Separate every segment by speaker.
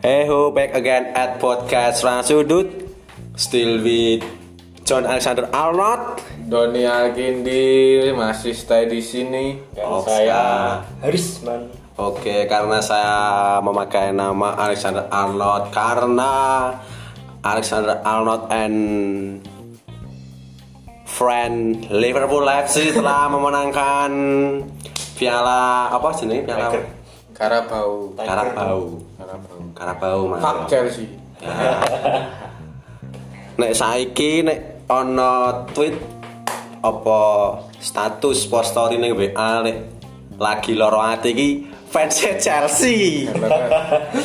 Speaker 1: Hey ho, back again at podcast Rang Sudut Still with John Alexander Arnold
Speaker 2: Doni Alkindi masih stay di sini dan
Speaker 1: Oh,
Speaker 2: saya
Speaker 3: Haris man
Speaker 1: Oke, karena saya memakai nama Alexander Arnold Karena Alexander Arnold and friend Liverpool FC telah memenangkan piala apa sih ini piala
Speaker 3: Tiger.
Speaker 2: Karabau
Speaker 1: Karabau
Speaker 2: Karabau
Speaker 1: Karabau Mas.
Speaker 2: Fuck Chelsea
Speaker 1: Nek saiki nek ana tweet apa status post story ning WA nek lagi loro ati iki fans e Chelsea.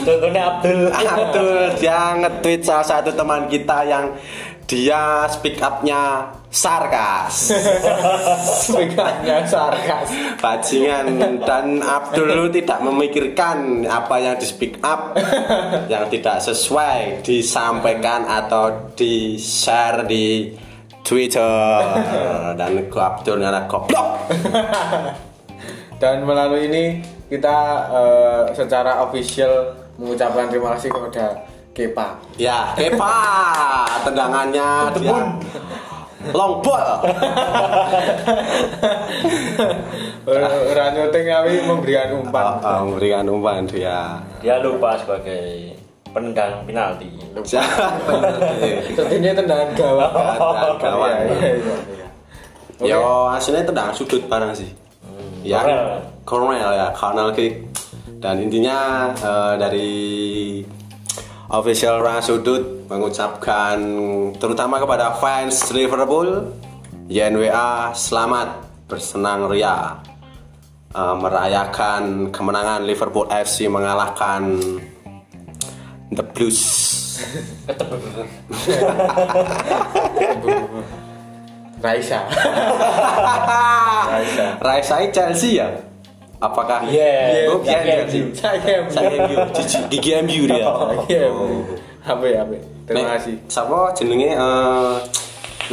Speaker 3: contohnya Abdul
Speaker 1: Atul dia nge-tweet salah satu teman kita yang dia speak up-nya sarkas.
Speaker 2: Sebenarnya sarkas
Speaker 1: Bajingan dan Abdul tidak memikirkan apa yang di speak up yang tidak sesuai disampaikan atau di share di Twitter dan ke Abdul karena goblok.
Speaker 2: Dan melalui ini kita eh, secara official mengucapkan terima kasih kepada Kepa
Speaker 1: Ya, Kepa tendangannya dia long ball.
Speaker 2: Orang nyuting kami memberikan umpan
Speaker 1: Oh, oh, memberikan umpan dia.
Speaker 4: dia lupa sebagai penendang penalti
Speaker 1: Siapa?
Speaker 2: Tentunya tendangan gawang
Speaker 1: Tendangan gawang.
Speaker 2: Iya, iya, iya. Hmm, Oke.
Speaker 1: Yo Ya, aslinya tendang sudut barang sih. ya,
Speaker 4: corner.
Speaker 1: corner ya, corner kick. Dan intinya eh, dari official Rang Sudut mengucapkan terutama kepada fans Liverpool, YNWA selamat bersenang ria eh, merayakan kemenangan Liverpool FC mengalahkan The Blues.
Speaker 2: Raisa Raisa Iya,
Speaker 1: Raisai Chelsea ya? Apakah?
Speaker 4: Yeah,
Speaker 1: Oh,
Speaker 4: yeah,
Speaker 1: yeah,
Speaker 4: yeah.
Speaker 1: Chelsea.
Speaker 2: Saya
Speaker 1: Sang MU, Cici, gigi MU dia. Oh,
Speaker 2: Iya, apa ya, apa? Terima
Speaker 1: Nek,
Speaker 2: kasih.
Speaker 1: Siapa jenenge eh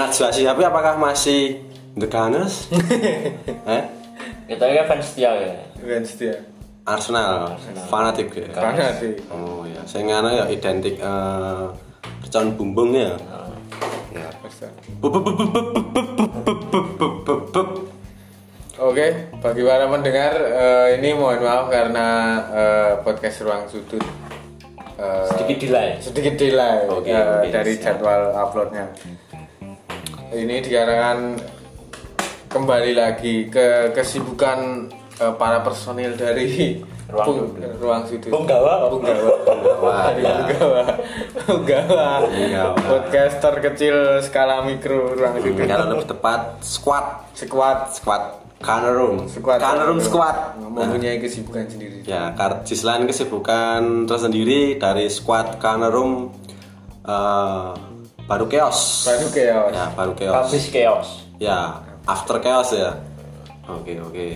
Speaker 1: Najwa Shihab apakah masih The Gunners? eh?
Speaker 4: kita kan fans setia ya
Speaker 2: Grand Setia.
Speaker 1: Arsenal, fanatik ya.
Speaker 2: Karena sih.
Speaker 1: Oh ya, saya ngana ya identik eh percon bumbung ya. Ya. Bup, bup, bup, bup, bup, bup, bup, bup, bup, bup, bup, bup.
Speaker 2: Oke, bagi para pendengar eh, ini mohon maaf karena eh, podcast ruang sudut eh,
Speaker 4: sedikit delay
Speaker 2: sedikit delay
Speaker 1: Oke,
Speaker 2: eh,
Speaker 1: oke,
Speaker 2: dari
Speaker 1: siap.
Speaker 2: jadwal uploadnya. Ini dikarenakan kembali lagi ke kesibukan eh, para personil dari
Speaker 4: Ruang
Speaker 2: Pung-
Speaker 4: Sudut.
Speaker 2: ruang sudut.
Speaker 4: Bung Gawa, Bung
Speaker 2: Punggawa.
Speaker 1: Wah, ya.
Speaker 2: Punggawa. Punggawa.
Speaker 1: Punggawa.
Speaker 2: Podcast terkecil skala mikro ruang sudut.
Speaker 1: Kalau lebih tepat squad,
Speaker 2: Sekuat
Speaker 1: squad Gunner Room,
Speaker 2: sekuat
Speaker 1: Gunner Room squad.
Speaker 2: Nah,
Speaker 1: Nah.
Speaker 2: mempunyai kesibukan sendiri.
Speaker 1: Ya, karcis lain kesibukan tersendiri dari squad Kanarum eh baru chaos.
Speaker 2: Baru chaos.
Speaker 1: Ya, baru chaos.
Speaker 4: habis chaos
Speaker 1: Ya, after chaos ya. Oke, oke.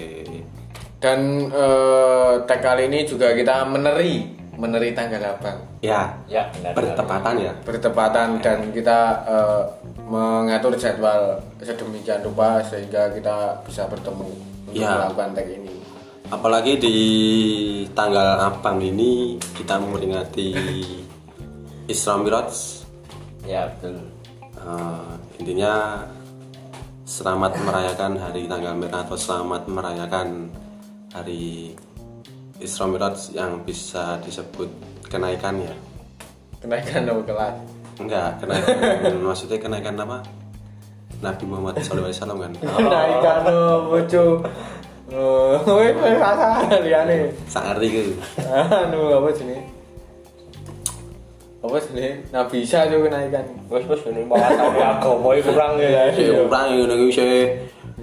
Speaker 2: Dan eh, tag kali ini juga kita meneri, meneri tanggal 8
Speaker 1: Ya,
Speaker 4: ya benar
Speaker 1: bertepatan ya.
Speaker 2: bertepatan dan kita eh, mengatur jadwal sedemikian rupa sehingga kita bisa bertemu untuk
Speaker 1: Ya.
Speaker 2: melakukan tag ini.
Speaker 1: Apalagi di tanggal abang ini kita memperingati Isra Miraj.
Speaker 4: ya betul
Speaker 1: Eh, intinya selamat merayakan hari tanggal merah atau selamat merayakan hari Isra Miraj yang bisa disebut kenaikan ya
Speaker 2: Kenaikan nomor kelas.
Speaker 1: enggak kenaikan maksudnya kenaikan apa Nabi Muhammad SAW kan
Speaker 4: Oh.
Speaker 2: Kenaikan nomor cuy. Wih, wih, rasa liane.
Speaker 1: sangat ringan
Speaker 2: Anu apa sini? Apa sini? Nah bisa juga kenaikan.
Speaker 4: wes wes ini malah sampai agama itu kurang ya
Speaker 1: orang yang nunggu saya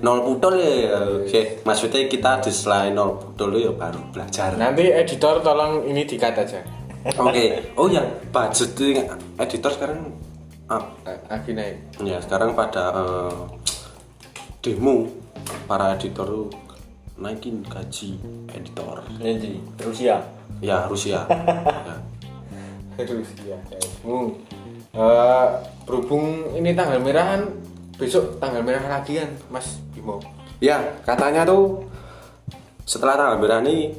Speaker 1: nol putol ya Oke, maksudnya kita di selain nol putol ya baru belajar
Speaker 2: Nanti editor tolong ini dikat aja.
Speaker 1: oke oh ya budget editor sekarang up
Speaker 2: A- Agi naik.
Speaker 1: Ya sekarang pada eh, demo para editor tuh naikin gaji editor.
Speaker 4: nanti Rusia
Speaker 1: Ya Rusia. ya.
Speaker 2: Terus ya. Hmm. Eh, berhubung ini tanggal merah kan besok tanggal merah lagi kan Mas Bimo.
Speaker 1: Ya, katanya tuh setelah tanggal merah ini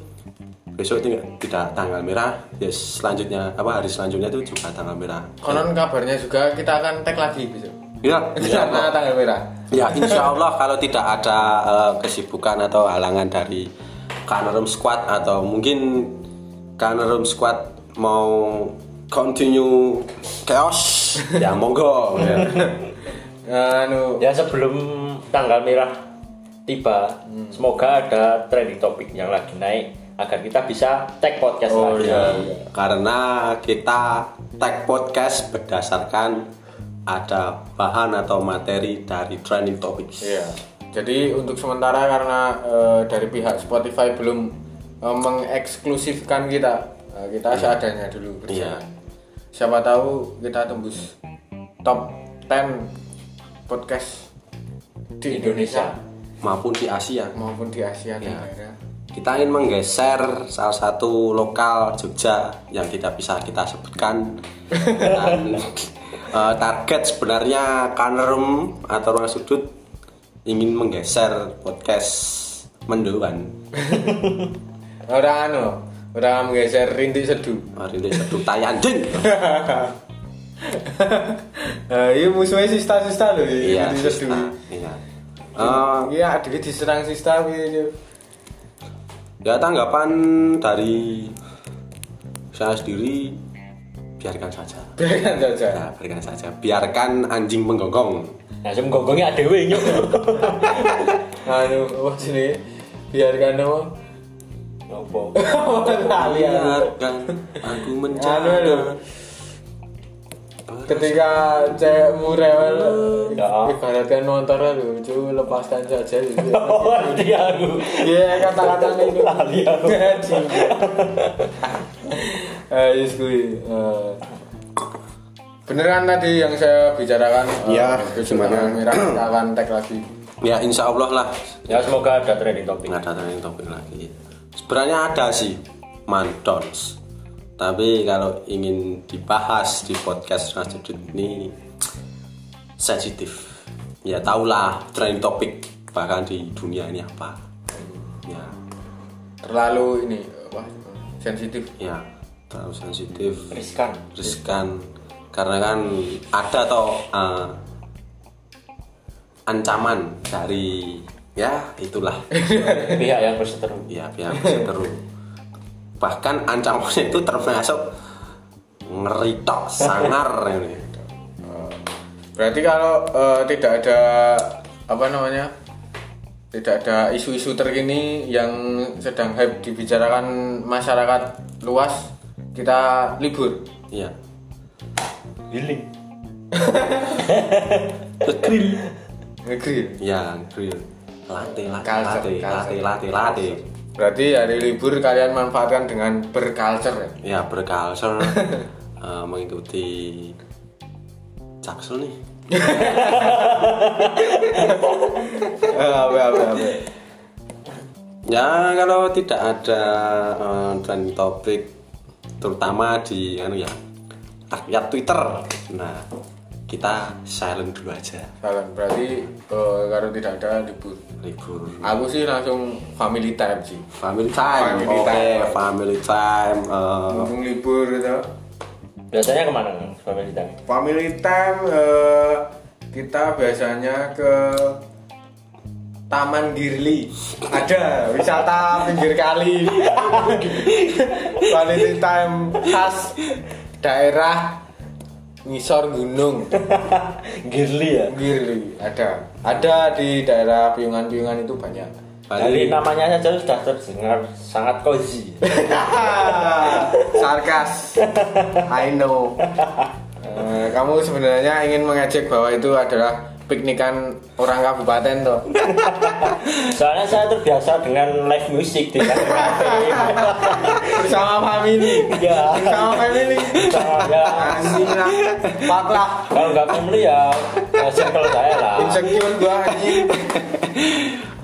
Speaker 1: besok tidak tidak tanggal merah ya selanjutnya apa hari selanjutnya itu juga tanggal merah
Speaker 2: Konon kabarnya juga kita akan tag lagi besok.
Speaker 1: ya insya
Speaker 2: Karena
Speaker 1: Allah.
Speaker 2: tanggal merah.
Speaker 1: ya insya Allah kalau tidak ada eh, kesibukan atau halangan dari Kanarum Squad atau mungkin Kanarum Squad mau continue chaos ya monggo ya.
Speaker 2: Anu,
Speaker 4: Ya sebelum tanggal merah tiba, semoga ada trending topik yang lagi naik agar kita bisa tag podcast
Speaker 2: Oh,
Speaker 4: lagi.
Speaker 2: iya.
Speaker 1: karena kita tag podcast berdasarkan ada bahan atau materi dari trending topics
Speaker 2: Iya. Jadi untuk sementara karena eh, dari pihak Spotify belum eh, mengeksklusifkan kita, eh, kita seadanya dulu berjalan. Siapa tahu kita tembus top 10 podcast di Indonesia,
Speaker 1: maupun di Asia
Speaker 2: maupun di
Speaker 1: Iya.
Speaker 2: Asia Tenggara.
Speaker 1: kita ingin menggeser salah satu lokal Jogja yang tidak bisa kita sebutkan dan eh, target sebenarnya Kanerum atau ruang sudut ingin menggeser podcast kan. mendoan
Speaker 2: Orang anu, orang menggeser rintik seduh.
Speaker 1: hari ini satu tayanjing
Speaker 2: Eh, iya musuhnya sista-sista loh
Speaker 1: iya Sista.
Speaker 2: rintik seduh.
Speaker 1: iya Eh,
Speaker 2: Iya, adik diserang sista gitu.
Speaker 1: ya tanggapan dari saya sendiri biarkan saja
Speaker 2: Biarkan saja.
Speaker 1: Nah, biarkan saja biarkan anjing menggonggong
Speaker 4: Nah, sing gonggongnya adewe nyuk.
Speaker 2: anu apa sini biarkan apa
Speaker 4: Nopo?
Speaker 2: Lali aku.
Speaker 1: biarkan aku
Speaker 2: anu
Speaker 1: menjaga
Speaker 2: lho. ketika cewekmu rewel
Speaker 4: Ya.
Speaker 1: Iya.
Speaker 2: ibaratkan motor lho cu lepaskan saja gitu
Speaker 4: Oh, nanti aku.
Speaker 2: iya kata-kata itu
Speaker 4: Lali aku.
Speaker 2: Anjing. eh yes, kuy. Eh, beneran tadi yang saya bicarakan eh,
Speaker 1: Ya,
Speaker 2: besok
Speaker 1: gimana?
Speaker 2: tanggal merah kita akan tag lagi
Speaker 1: ya insya Allah lah
Speaker 4: Ya semoga ada trending topik.
Speaker 1: nggak ada trending topik lagi sebenarnya ada sih mantons tapi kalau ingin dibahas di podcast Mas Dudut ini sensitif ya tahulah trending topik bahkan di dunia ini apa ya
Speaker 2: terlalu ini apa sensitif
Speaker 1: ya terlalu sensitif
Speaker 4: Riskan.
Speaker 1: riskan karena kan ada toh eh, ancaman dari ya itulah
Speaker 4: Pihak yang berseteru.
Speaker 1: ya pihak berseteru bahkan ancamannya itu termasuk ngeri tok sangar ini
Speaker 2: Berarti kalau eh, tidak ada apa namanya? Tidak ada isu-isu terkini yang sedang hype dibicarakan masyarakat luas, kita libur.
Speaker 1: ya
Speaker 4: Healing.
Speaker 1: grill
Speaker 2: Negeri.
Speaker 1: ya grill latte latte
Speaker 2: Kalsel,
Speaker 1: latte latte
Speaker 2: kalsel.
Speaker 1: latte latte
Speaker 2: Berarti hari libur kalian manfaatkan dengan berculture
Speaker 1: ya
Speaker 2: ya.
Speaker 1: berkalsel eh, mengikuti jaksel nih
Speaker 2: Iya,
Speaker 1: Ya kalau tidak ada eh, trending topik terutama di anu ya rakyat Twitter. Nah kita silent dulu aja
Speaker 2: Kalian berarti eh, kalau tidak ada libur.
Speaker 1: libur.
Speaker 2: Aku sih langsung family time sih.
Speaker 1: Family time,
Speaker 2: Family
Speaker 1: oke
Speaker 2: time.
Speaker 1: family time. eh,
Speaker 2: Langsung libur gitu.
Speaker 4: Biasanya kemana kan? Family time.
Speaker 2: Family time eh, kita biasanya ke Taman Girli. Ada wisata pinggir kali. Family time khas daerah ngisor gunung
Speaker 4: Girly ya.
Speaker 2: Girli ada. Ada di daerah piungan-piungan itu banyak.
Speaker 4: Dari
Speaker 1: Bali.
Speaker 4: namanya saja sudah terdengar sangat cozy.
Speaker 2: Sarkas. I know. Eh, kamu sebenarnya ingin mengejek bahwa itu adalah piknikan orang kabupaten toh.
Speaker 4: Soalnya saya terbiasa dengan live music di kafe.
Speaker 2: Bersama family.
Speaker 4: Ya.
Speaker 2: Bersama family.
Speaker 4: Soalnya
Speaker 2: Anjing lah. Pak lah.
Speaker 4: kalau nggak family ya ya circle saya lah.
Speaker 2: Insecure gua anjing.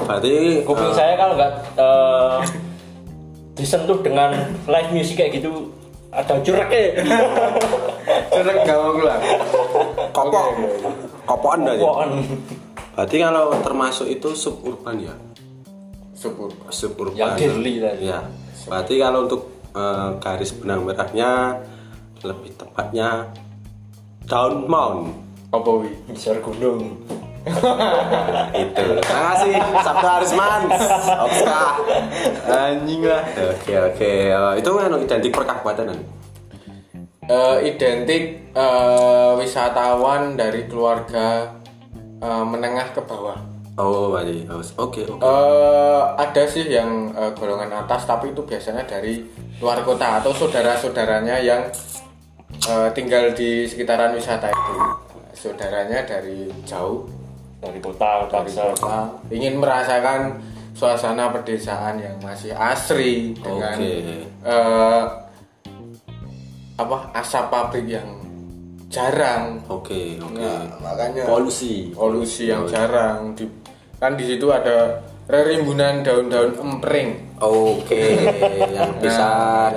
Speaker 1: Berarti
Speaker 4: Kuping
Speaker 1: eh,
Speaker 4: saya kalau nggak eh, disentuh dengan live music kayak gitu ada curak ya.
Speaker 2: Iya. Cerek gak mau keluar.
Speaker 1: kopok,
Speaker 2: Oke, oke, oke.
Speaker 1: kopoan dari.
Speaker 4: Pohon.
Speaker 1: Berarti kalau termasuk itu suburban ya,
Speaker 2: Subur.
Speaker 1: suburban.
Speaker 4: Yang girly tadi.
Speaker 1: Ya, Berarti kalau untuk eh, garis benang merahnya lebih tepatnya down mount
Speaker 2: Apa wi?
Speaker 3: ngisor gunung
Speaker 1: Nah, itu. Terima kasih Sabtu Arisman. Oka. Anjing lah. Oke oke. Eh, itu anu identik perkabupaten anu.
Speaker 2: Eh, identik eh, wisatawan dari keluarga eh, menengah ke bawah.
Speaker 1: Oh, Bali. Oh, Oke oke.
Speaker 2: Eh, ada sih yang eh, golongan atas tapi itu biasanya dari luar kota atau saudara-saudaranya yang eh, tinggal di sekitaran wisata itu saudaranya dari jauh
Speaker 4: dari kota udah
Speaker 2: dari
Speaker 4: bisa
Speaker 2: kota ingin merasakan suasana pedesaan yang masih asri dengan
Speaker 1: Oke.
Speaker 2: eh, apa asap pabrik yang jarang
Speaker 1: Oke oke.
Speaker 2: Nah,
Speaker 1: Ya.
Speaker 2: makanya
Speaker 1: Polusi.
Speaker 2: polusi yang jarang di kan di situ ada rerimbunan daun-daun empring
Speaker 1: Oke, yang bisa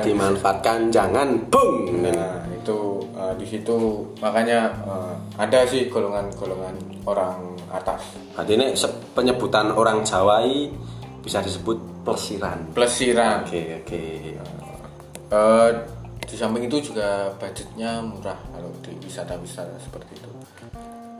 Speaker 1: dimanfaatkan jangan bung.
Speaker 2: Nah, itu eh, di situ makanya eh, ada sih golongan-golongan orang atas.
Speaker 1: Berarti ini se- penyebutan orang Jawa i bisa disebut pelesiran.
Speaker 2: Plesiran.
Speaker 1: Oke oke.
Speaker 2: Eh, di samping itu juga budgetnya murah kalau di wisata-wisata seperti itu.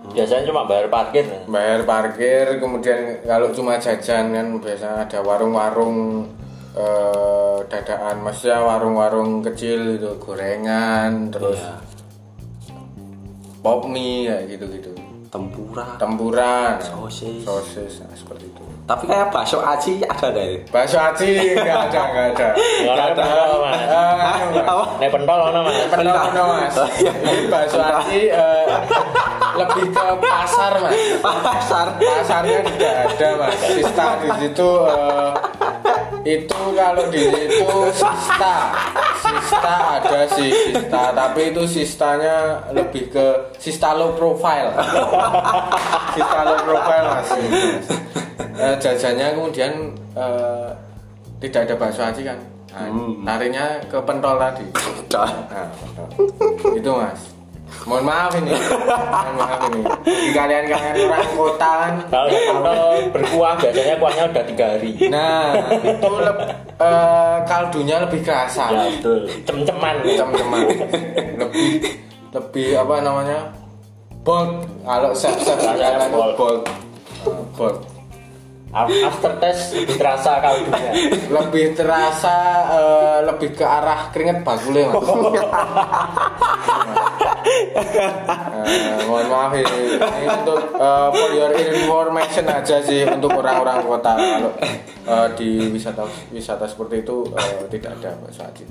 Speaker 4: biasanya cuma bayar parkir
Speaker 2: Bayar parkir, kemudian kalau cuma jajan kan biasanya ada warung-warung eh, dadaan, maksudnya warung-warung kecil itu gorengan, terus pop mie kayak gitu-gitu.
Speaker 1: Tempura.
Speaker 2: Tempuran,
Speaker 1: Sosis.
Speaker 2: sosis nah, seperti itu.
Speaker 1: Tapi kayak bakso aci ada nggak ini?
Speaker 2: Bakso aci nggak ada nggak ada.
Speaker 4: Orang pentol mas
Speaker 2: Eh,
Speaker 1: Apa?
Speaker 4: Nek pentol ono mas
Speaker 2: Penuh penuh mas. Ini bakso aci eh, lebih ke pasar mas.
Speaker 1: Pasar.
Speaker 2: Pasarnya tidak ada mas. Sista di situ eh, itu kalau di situ sista sista ada sih sista tapi itu sistanya lebih ke sista low profile sista low profile mas Eh, jajannya kemudian eh, tidak ada bakso aci kan nah, tariknya ke pentol tadi
Speaker 1: Dah.
Speaker 2: Nah, itu mas mohon maaf ini mohon maaf ini Di kalian kalian orang kota kan
Speaker 4: kalau yang pentol berkuah biasanya kuahnya udah tiga hari
Speaker 2: nah itu leb- eh, kaldunya lebih kerasa
Speaker 4: ya betul cem-ceman
Speaker 2: teman-teman lebih lebih apa namanya bold kalau sep sep
Speaker 4: Rasanya bold.
Speaker 2: bold Eh, bold
Speaker 4: after test lebih terasa kaldunya
Speaker 2: lebih terasa eh, lebih ke arah keringet bakule mas Eh, mohon maaf ini, ini untuk eh, for your information aja sih untuk orang-orang kota kalau eh, di wisata wisata seperti itu eh, tidak ada bakso aci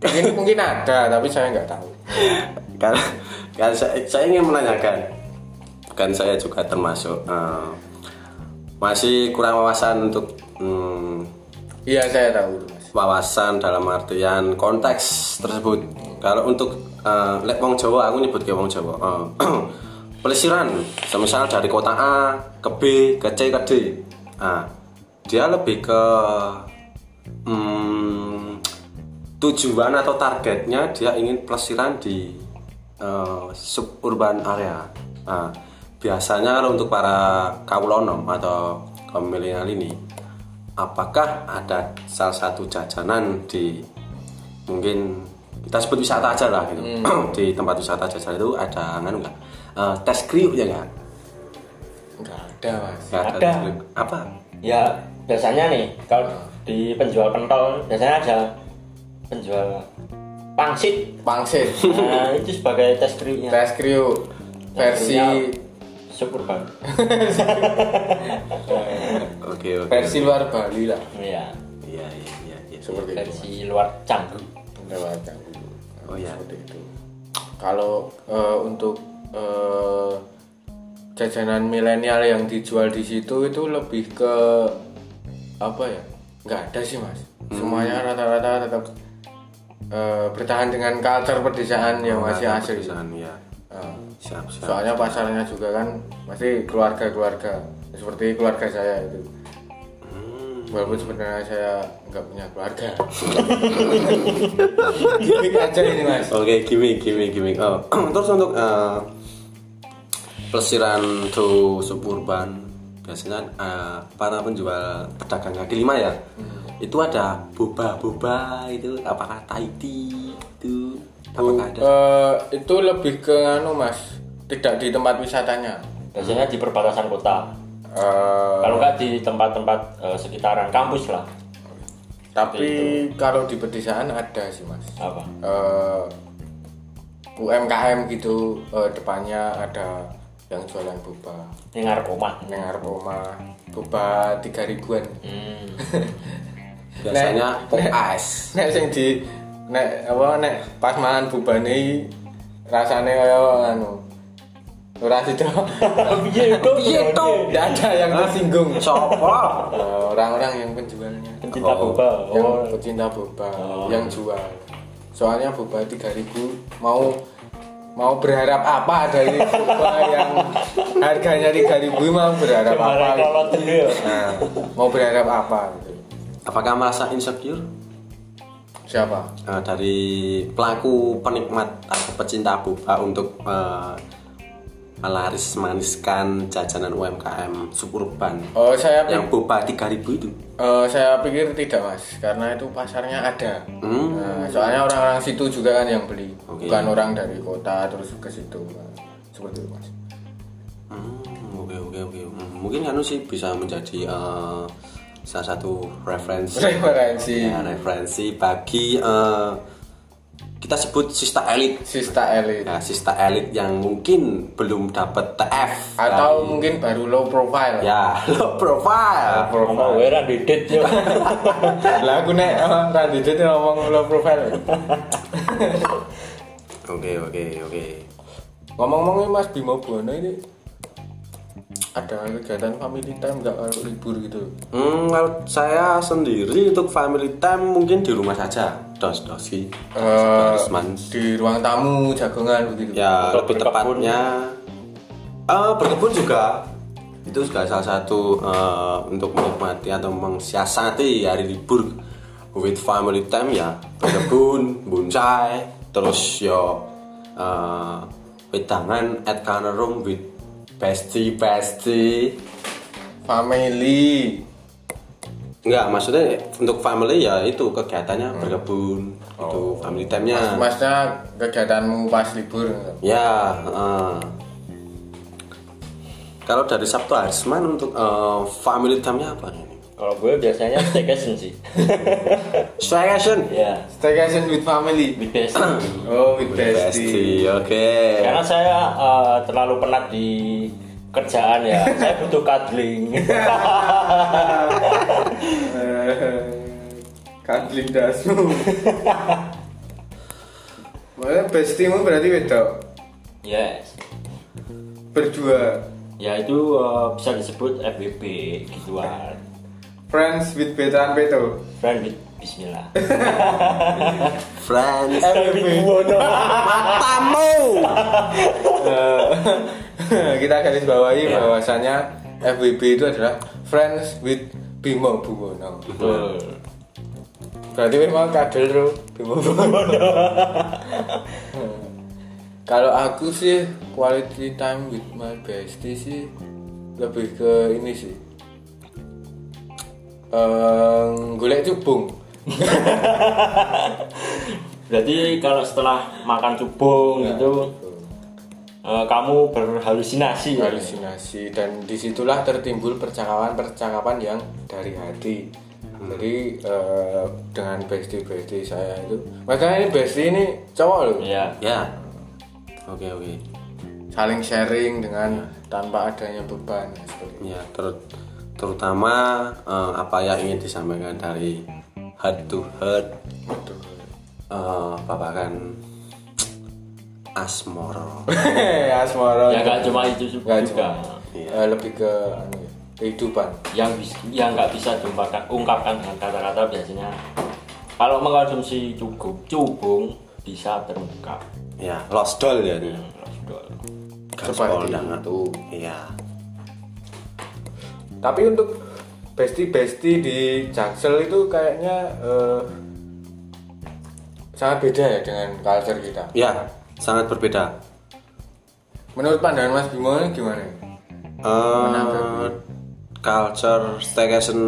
Speaker 2: mungkin mungkin ada tapi saya nggak tahu
Speaker 1: Karena karena saya, saya ingin menanyakan, kan saya juga termasuk eh, masih kurang wawasan untuk hmm,
Speaker 2: iya saya tahu itu mas
Speaker 1: wawasan dalam artian konteks tersebut. Kalau untuk eh, lek wong Jawa, aku nyebut ke wong Jawa. eh, pelesiran, semisal dari kota A ke B ke C ke D, nah, dia lebih ke hmm, tujuan atau targetnya dia ingin pelesiran di eh, suburban area. Nah, biasanya kalau untuk para kaulonom atau kaum milenial ini apakah ada salah satu jajanan di mungkin kita sebut wisata aja lah gitu
Speaker 4: Hmm.
Speaker 1: di tempat wisata jajanan itu ada nggak nggak Eh, tes kriuk ya nggak
Speaker 2: nggak ada mas
Speaker 1: Nggak
Speaker 4: Ada.
Speaker 1: tes kriuk. apa
Speaker 4: ya biasanya nih kalau di penjual pentol biasanya ada penjual pangsit
Speaker 2: pangsit
Speaker 4: nah itu sebagai tes kriuknya
Speaker 2: tes kriu versi
Speaker 4: syukur banget
Speaker 1: oke oke
Speaker 2: versi luar Bali lah
Speaker 4: iya
Speaker 1: iya iya iya iya.
Speaker 2: seperti itu
Speaker 4: versi luar canggu
Speaker 2: lewat canggu.
Speaker 1: Oh, iya.
Speaker 2: Seperti itu. Kalau eh, untuk eh, jajanan milenial yang dijual di situ itu lebih ke apa ya? Nggak ada sih mas.
Speaker 1: Hmm.
Speaker 2: Semuanya rata-rata tetap eh, bertahan dengan culture pedesaan yang masih
Speaker 1: Ada
Speaker 2: asli.
Speaker 1: perusahaan, ya
Speaker 4: Ah.
Speaker 2: Eh,
Speaker 1: siap siap
Speaker 2: soalnya pasarnya juga kan masih keluarga-keluarga seperti keluarga saya itu. Walaupun sebenarnya saya nggak punya keluarga. Gimik aja ini mas.
Speaker 1: oke gimmick gimmick gimmick oh. terus untuk eh, pelesiran to suburban biasanya eh, para penjual pedagang kaki lima ya itu ada boba boba itu apakah Tahiti itu apakah ada
Speaker 2: Eh, itu lebih ke anu mas, tidak di tempat wisatanya.
Speaker 4: biasanya di perbatasan kota
Speaker 2: Eh,
Speaker 4: kalau nggak di tempat-tempat eh, sekitaran kampus lah
Speaker 2: tapi kalau di pedesaan ada sih mas.
Speaker 4: apa
Speaker 2: Eh, UMKM gitu eh, depannya ada yang jualan boba,
Speaker 4: yang ngarep omah
Speaker 2: yang ngarep omah, boba tiga ribuan.
Speaker 4: hmm.
Speaker 2: Nah,
Speaker 1: biasanya pop ice
Speaker 2: Nek sing di nek apa nek pas mangan bubane rasane kaya anu ora sida.
Speaker 4: piye itu
Speaker 1: Piye to?
Speaker 2: Enggak ada yang
Speaker 1: Ah.
Speaker 2: tersinggung.
Speaker 1: Sopo?
Speaker 2: Eh, Orang-orang yang penjualnya
Speaker 4: pencinta boba
Speaker 2: yang
Speaker 4: oh
Speaker 2: pecinta boba
Speaker 1: Oh.
Speaker 2: yang jual. Soalnya boba 3000 mau mau berharap apa dari boba yang harganya 3000 mau berharap apa?
Speaker 4: kemarin
Speaker 2: gitu.
Speaker 4: kalau dulu ya
Speaker 2: Nah, mau berharap apa gitu.
Speaker 1: apakah merasa insecure
Speaker 2: Siapa?
Speaker 1: Eh, dari pelaku penikmat atau pecinta boba untuk eh, melaris maniskan jajanan UMKM suburban
Speaker 2: Oh, saya pi-
Speaker 1: yang boba 3000 itu
Speaker 2: Eh, saya pikir tidak mas, karena itu pasarnya ada. Nah, soalnya orang-orang situ juga kan yang beli,
Speaker 1: Hmm. Oke.
Speaker 2: bukan orang dari kota terus ke situ. Nah, Seperti itu mas.
Speaker 1: Hmm, oke oke oke Hmm, mungkin anu sih bisa menjadi eh, salah satu referensi
Speaker 2: Referensi
Speaker 1: ya, referensi bagi eh, kita sebut sista elit
Speaker 2: sista elit
Speaker 1: ya sista elit yang mungkin belum dapat TF
Speaker 2: atau mungkin baru low profile.
Speaker 1: ya low profile
Speaker 4: ngomong gue ra didit yo
Speaker 2: Lah aku nek eh, Randy Dut ngomong low profile.
Speaker 1: oke oke oke
Speaker 2: Ngomong-ngomong mas Bimo Buwono ini ada kegiatan family time nggak kalau libur gitu?
Speaker 1: Hmm, kalau saya sendiri untuk family time mungkin di rumah saja dos dosi
Speaker 2: Eh,
Speaker 1: dos mans.
Speaker 2: di ruang tamu jagongan begitu.
Speaker 1: ya
Speaker 4: Atau
Speaker 1: lebih
Speaker 4: berkebun.
Speaker 1: tepatnya eh berkebun juga itu juga salah satu eh, untuk menikmati atau mensiasati hari libur with family time ya berkebun bonsai terus yo eh wedangan at corner room with bestie bestie
Speaker 2: Family.
Speaker 1: Enggak, maksudnya untuk family ya itu kegiatannya berkebun itu family
Speaker 2: Ah.
Speaker 1: time-nya.
Speaker 2: Masnya kegiatanmu pas libur
Speaker 1: Ya, eh. kalau dari Sabtu Harisman untuk eh, family time-nya apa ini?
Speaker 4: kalau gue biasanya staycation sih
Speaker 1: Staycation.
Speaker 4: ya
Speaker 2: Staycation with family.
Speaker 4: with bestie.
Speaker 2: Oh, with
Speaker 1: Pasti,
Speaker 2: bestie.
Speaker 1: oke.
Speaker 4: karena saya eh, terlalu penat di kerjaan ya saya butuh cuddling
Speaker 2: Kadlin dasu. Malah bestimu berarti wedok
Speaker 4: yes
Speaker 2: berdua.
Speaker 4: ya itu eh, bisa disebut FBB gituan
Speaker 2: Friends with veteran peto.
Speaker 4: friend with Bismillah
Speaker 1: Friends.
Speaker 2: FBB.
Speaker 1: Matamu.
Speaker 2: Eh, Kita garis bawahi bahwasannya FWB itu adalah Friends with Bimo Buwono.
Speaker 4: betul
Speaker 2: Berarti memang kadel bro Bimo Buwono. Kalau aku sih quality time with my bestie sih lebih ke ini sih. Ehm, golek cubung.
Speaker 4: berarti kalau setelah makan cubung gitu eh, kamu berhalusinasi
Speaker 2: Iya.
Speaker 4: ya?
Speaker 2: halusinasi dan disitulah tertimbul percakapan-percakapan yang dari hati jadi eh, dengan bestie bestie saya itu makanya ini bestie ini cowok loh
Speaker 4: ya
Speaker 1: Ya. Oke, oke.
Speaker 2: saling sharing dengan tanpa adanya beban seperti itu.
Speaker 1: Ya, ter- terutama eh, apa yang ingin disampaikan dari heart to heart
Speaker 2: Betul.
Speaker 1: eh babakan asmoro.
Speaker 2: Asmara
Speaker 4: ya nggak cuma itu juga,
Speaker 2: Nggak cuma. Eh, lebih ke anu ya, kehidupan
Speaker 4: yang bis- yang nggak bisa diungkapkan ungkapkan dengan kata-kata biasanya kalau mengkonsumsi cukup cubung bisa terungkap
Speaker 1: ya, lost doll ya ini.
Speaker 2: Seperti
Speaker 1: itu. Iya.
Speaker 2: tapi untuk bestie bestie di Jaksel itu kayaknya eh, sangat beda ya dengan culture kita
Speaker 1: Ya, sangat berbeda.
Speaker 2: menurut pandangan Mas Bimo ini gimana kan?
Speaker 1: eh culture staycation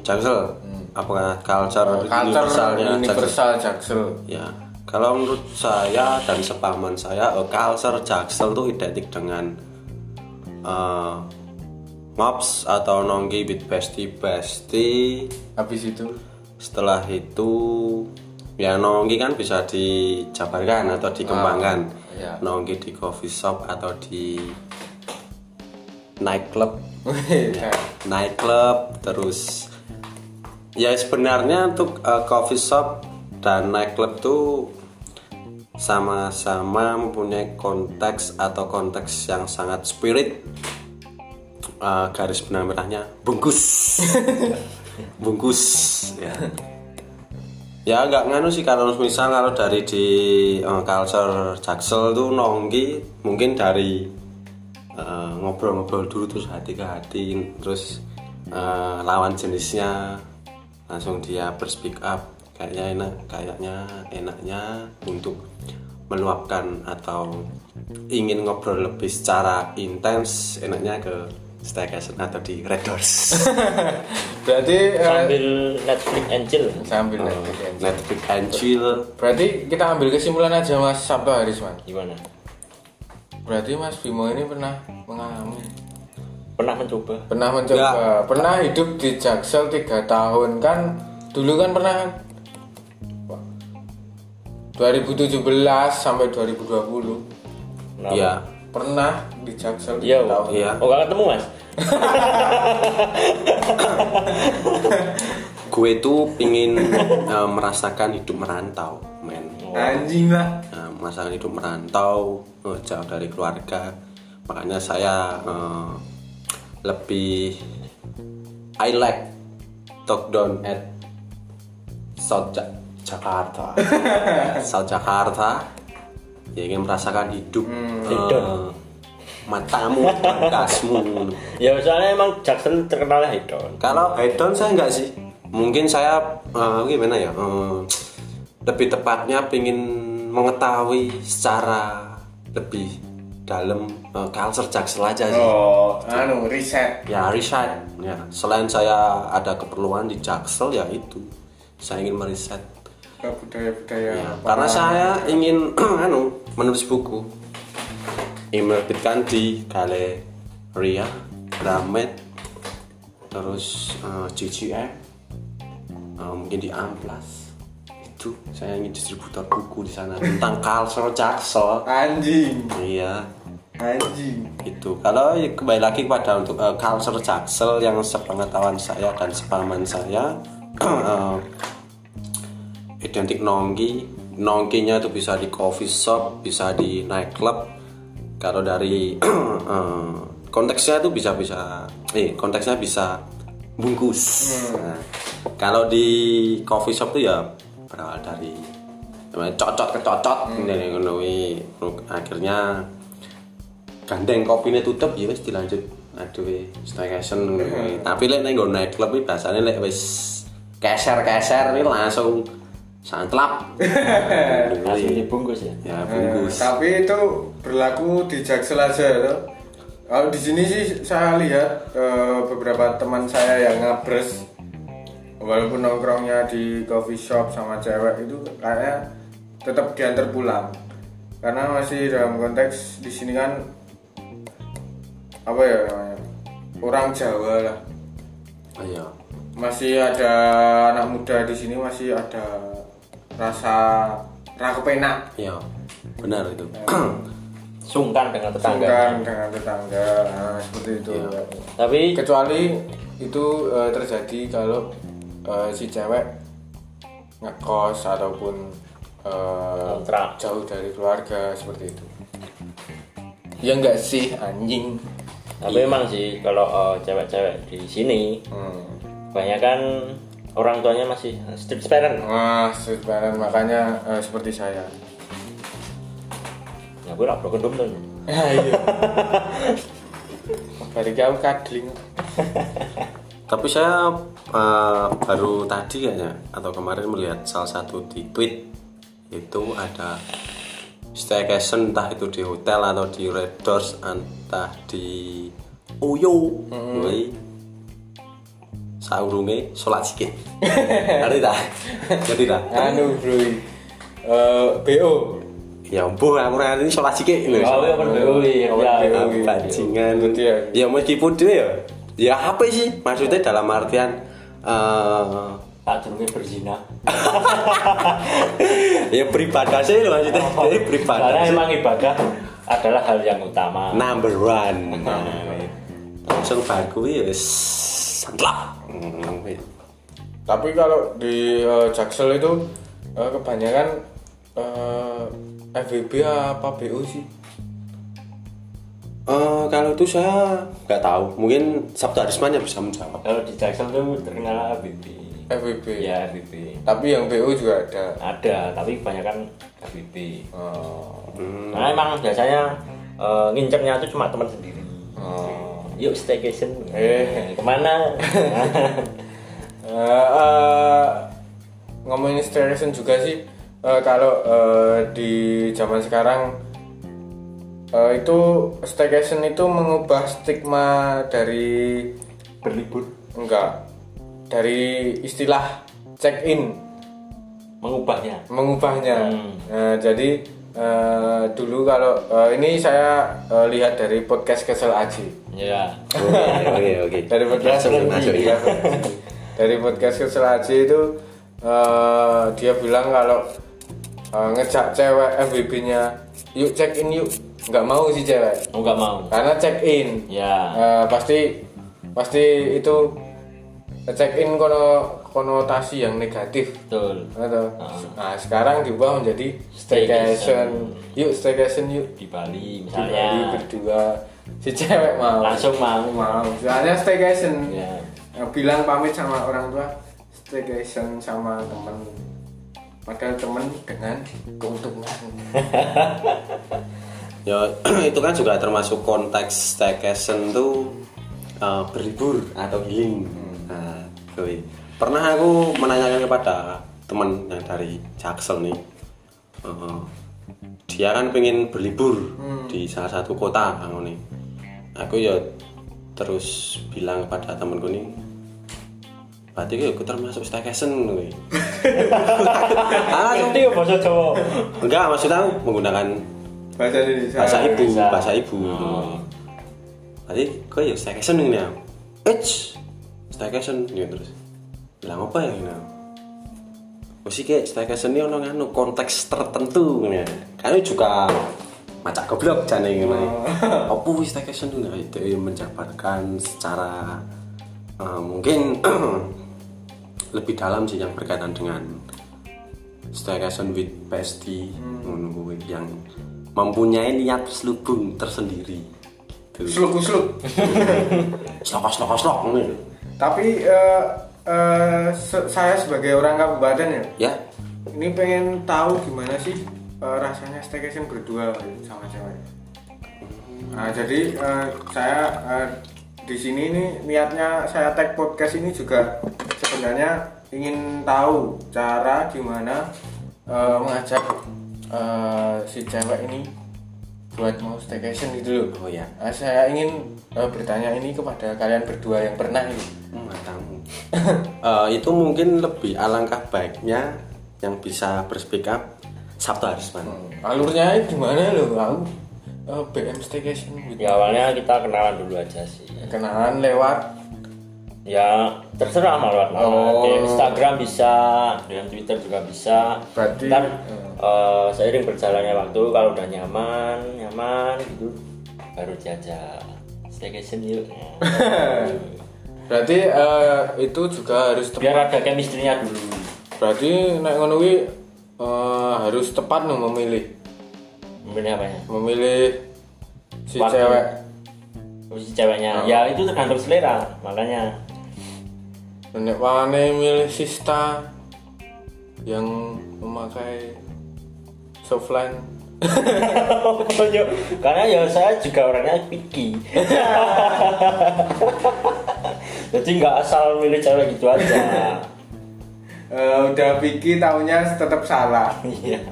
Speaker 1: Jaksel apa culture,
Speaker 2: Hmm. Oh, Culture
Speaker 1: universalnya Jaksel.
Speaker 2: universal Jaksel.
Speaker 1: Ya, kalau menurut saya dan sepaman saya, eh, culture Jaksel itu identik dengan eh, mobs atau nongki with bestie bestie.
Speaker 2: Habis itu
Speaker 1: Setelah itu ya nongki kan bisa dijabarkan atau dikembangkan.
Speaker 2: iya.
Speaker 1: Nongki di coffee shop atau di nightclub nightclub terus ya sebenarnya untuk eh, coffee shop dan nightclub tuh sama-sama mempunyai konteks atau konteks yang sangat spirit Eh, garis benang merahnya bungkus bungkus ya ya nggak nganu sih kalau misal kalau dari di eh, culture jaksel tuh nongki mungkin dari eh, ngobrol-ngobrol dulu terus hati ke hati terus eh, lawan jenisnya langsung dia berspeak up kayaknya enak kayaknya enaknya untuk meluapkan atau ingin ngobrol lebih secara intens enaknya ke staycation atau di Red Doors
Speaker 2: berarti eh,
Speaker 3: sambil Netflix and chill
Speaker 2: sambil
Speaker 1: Hmm.
Speaker 2: Netflix and chill.
Speaker 1: Netflix and chill
Speaker 2: Berarti kita ambil kesimpulan aja Mas Sabto Haris Mas.
Speaker 4: gimana
Speaker 2: Berarti Mas Bimo ini pernah mengalami
Speaker 4: pernah mencoba
Speaker 2: pernah mencoba
Speaker 1: Nggak.
Speaker 2: pernah hidup di Jaksel tiga tahun kan dulu kan pernah kan? 2017 sampai 2020
Speaker 4: Kenapa?
Speaker 1: ya
Speaker 2: pernah di Jaksel
Speaker 4: iya
Speaker 2: tiga tahun
Speaker 1: iya
Speaker 4: oh gak ketemu mas
Speaker 1: gue tuh pingin eh, merasakan hidup merantau men
Speaker 2: anjing lah
Speaker 1: Nah, masakan hidup merantau eh, jauh dari keluarga makanya saya eh, lebih I like talk down at South Ja- Jakarta South Jakarta ya ingin merasakan hidup
Speaker 4: Hmm.
Speaker 1: eh, matamu bandasmu
Speaker 4: ya soalnya emang Jackson terkenalnya hedon
Speaker 1: kalau hedon saya enggak sih mungkin saya eh, gimana ya eh, lebih tepatnya ingin mengetahui secara lebih dalam eh, culture jaksel aja sih
Speaker 2: oh anu riset
Speaker 1: ya riset ya selain saya ada keperluan di jaksel ya itu saya ingin meriset
Speaker 2: ke budaya-budaya
Speaker 1: Ya, karena saya ingin anu menulis buku ingin menerbitkan di Galeria Gramet terus eh, GGM eh, mungkin di Amplas itu saya ingin distributor buku di sana tentang culture jaksel
Speaker 2: anjing
Speaker 1: iya
Speaker 2: anjing
Speaker 1: itu kalau ya kembali lagi kepada untuk eh, culture jaksel yang sepengetahuan saya dan sepaman saya eh, identik nongki nongkinya itu bisa di coffee shop bisa di nightclub kalau dari eh, konteksnya itu bisa bisa eh konteksnya bisa bungkus Nah, kalau di coffee shop itu ya berawal dari cocot ke cocot ini, ngono kuwi. akhirnya gandeng kopinya tutup ya wis dilanjut aduh weh, staycation ngono kuwi. tapi lek nang nggon nightclub iki biasane lek wis keser-keser ini langsung santlap Ngono
Speaker 4: langsung
Speaker 1: kuwi.
Speaker 4: dibungkus ya
Speaker 1: ya bungkus
Speaker 2: Eh, tapi itu berlaku di Jaksel aja ya. Kalau di sini sih saya lihat eh, beberapa teman saya yang ngabres walaupun nongkrongnya di coffee shop sama cewek itu kayaknya tetap diantar pulang karena masih dalam konteks di sini kan apa ya namanya orang Jawa lah
Speaker 1: iya
Speaker 2: masih ada anak muda di sini masih ada rasa rakepenak
Speaker 1: iya benar itu
Speaker 4: sungkan dengan tetangga
Speaker 2: Sungkan dengan tetangga nah, seperti itu
Speaker 4: tapi
Speaker 2: kecuali itu eh, terjadi kalau eh, si cewek ngekos ataupun eh,
Speaker 4: Kontrak.
Speaker 2: jauh dari keluarga seperti itu ya enggak sih anjing
Speaker 4: tapi emang sih kalau eh, cewek-cewek di sini
Speaker 2: hmm.
Speaker 4: kebanyakan orang tuanya masih strict parent
Speaker 2: wah sebenarnya makanya eh, seperti saya
Speaker 4: ya gue lapor kendum tuh
Speaker 2: ayo Iya. dari kau kadling
Speaker 1: tapi saya eh, baru tadi kayaknya atau kemarin melihat salah satu di tweet itu ada staycation entah itu di hotel atau di Red Doors entah di Oyo Wih. saurunge sholat sikit ngerti tak ngerti tak
Speaker 2: anu bro Eh, BO
Speaker 1: ya ampun aku ora ngerti sholat sikit lho
Speaker 4: Oh, iya, kan BO, iya.
Speaker 2: Awal
Speaker 4: Ya,
Speaker 2: BO, iya.
Speaker 1: pancingan
Speaker 2: Betul ya.
Speaker 1: ya meskipun dia ya ya apa sih maksudnya dalam artian eh
Speaker 4: tak jerungi berzina
Speaker 1: ya beribadah sih lho maksudnya
Speaker 4: Iya,
Speaker 1: Dia beribadah
Speaker 4: karena
Speaker 1: sih.
Speaker 4: emang ibadah adalah hal yang utama
Speaker 1: number one Nah, langsung baku ya wis Hmm, santlak
Speaker 2: tapi kalau di eh, Jaksel itu eh, kebanyakan eh, FVB apa BO sih
Speaker 1: Eh, kalau itu saya nggak tahu mungkin Sabtu Arisman yang bisa menjawab
Speaker 4: kalau di Jaksel tuh terkenal ABB
Speaker 2: FVB
Speaker 4: ya ABB
Speaker 2: tapi yang BO juga ada
Speaker 4: ada tapi kebanyakan ABB
Speaker 2: Oh.
Speaker 4: Karena emang biasanya eh, ngincernya itu cuma teman sendiri. Yuk staycation.
Speaker 2: Eh.
Speaker 4: Kemana?
Speaker 2: Eh, eh, ngomongin stereotype juga sih eh, kalau eh, di zaman sekarang eh, itu staycation itu mengubah stigma dari
Speaker 4: Berlibur.
Speaker 2: enggak dari istilah check in
Speaker 4: Mengubahnya.
Speaker 2: mengubahnya Eh, jadi eh, dulu kalau eh, ini saya eh, lihat dari podcast kesel aji
Speaker 4: Ya.
Speaker 1: oke Oh, iya, oke oke
Speaker 2: dari podcast
Speaker 1: Langsung, langsung, iya.
Speaker 2: dari podcast Kesel Aji itu eh, dia bilang kalau eh, ngejak cewek FWB nya yuk check in yuk nggak mau sih cewek
Speaker 4: Oh, nggak mau.
Speaker 2: karena check in
Speaker 4: Ya.
Speaker 2: Eh, pasti pasti itu check in kono konotasi yang negatif
Speaker 4: Betul.
Speaker 2: Atau, nah sekarang diubah menjadi staycation
Speaker 4: Hmm. Staycation.
Speaker 2: yuk staycation yuk
Speaker 4: Di
Speaker 2: di Bali
Speaker 4: Bali misalnya.
Speaker 2: berdua si cewek mau
Speaker 4: Langsung mau.
Speaker 2: mau soalnya staycation
Speaker 4: Ya.
Speaker 2: Nah, bilang pamit sama orang tua staycation sama temen padahal temen dengan keuntungan
Speaker 1: ya itu kan juga termasuk konteks staycation tuh eh, berlibur atau healing nah, gue- pernah aku menanyakan kepada teman yang dari Jaksel nih eh, dia kan pengen berlibur di salah satu kota aku nih aku ya terus bilang kepada temanku nih berarti gue aku termasuk staycation gue Ah, langsung.
Speaker 4: Ngerti ya bahasa Jawa?
Speaker 1: enggak maksudnya aku menggunakan
Speaker 2: bahasa Indonesia
Speaker 1: bahasa ibu
Speaker 4: Bisa.
Speaker 1: bahasa ibu nanti kok ya staycation ini ya Eits, staycation gitu terus bilang apa ya gitu mesti Oh, kayak staycation ini ono nganu konteks tertentu gitu ya kami juga macak goblok jane gitu apa wis staycation ini Nah, itu yang menjabarkan secara eh, mungkin lebih dalam sih yang berkaitan dengan staycation with PST ngono kuwi, yang mempunyai niat selubung tersendiri gitu.
Speaker 2: seluk seluk
Speaker 1: slok slok slok ngono lho.
Speaker 2: tapi eh, eh, se- saya sebagai orang kabupaten ya
Speaker 1: ya
Speaker 2: ini pengen tahu gimana sih eh, rasanya staycation berdua sama cewek nah jadi eh, saya eh, di sini ini niatnya saya tag podcast ini juga sebenarnya ingin tahu cara gimana eh, mengajak eh, si cewek ini buat mau staycation gitu loh
Speaker 1: Oh, iya.
Speaker 2: Nah, saya ingin eh, bertanya ini kepada kalian berdua yang pernah ini
Speaker 1: matamu Eh, itu mungkin lebih alangkah baiknya yang bisa berspek up Sabtu
Speaker 2: Hmm.
Speaker 1: Harisman
Speaker 2: alurnya gimana loh aku eh, BM staycation gitu
Speaker 4: Ya awalnya kita kenalan dulu aja sih.
Speaker 2: kenalan lewat
Speaker 4: Ya terserah mau lewat mana.
Speaker 2: Oh.
Speaker 4: Di Instagram bisa, dengan Twitter juga bisa.
Speaker 2: Berarti-
Speaker 4: Ntar,
Speaker 2: Hmm.
Speaker 4: eh, seiring berjalannya waktu kalau udah nyaman, nyaman gitu baru diajak staycation yuk.
Speaker 2: berarti eh, itu juga harus tepat
Speaker 4: Biar ada chemistry-nya dulu.
Speaker 2: berarti naik ngono kuwi, eh, harus tepat nih memilih
Speaker 4: Kemudian apanya?
Speaker 2: memilih si
Speaker 4: Waktu.
Speaker 2: cewek
Speaker 4: Si ceweknya.
Speaker 2: Oh.
Speaker 4: Ya itu tergantung selera, makanya.
Speaker 2: nenek wane milih sista yang memakai softline
Speaker 4: Karena ya saya juga orangnya picky. Jadi nggak asal milih cewek gitu aja.
Speaker 2: Eh, udah pikir tahunya tetap salah
Speaker 4: Iya.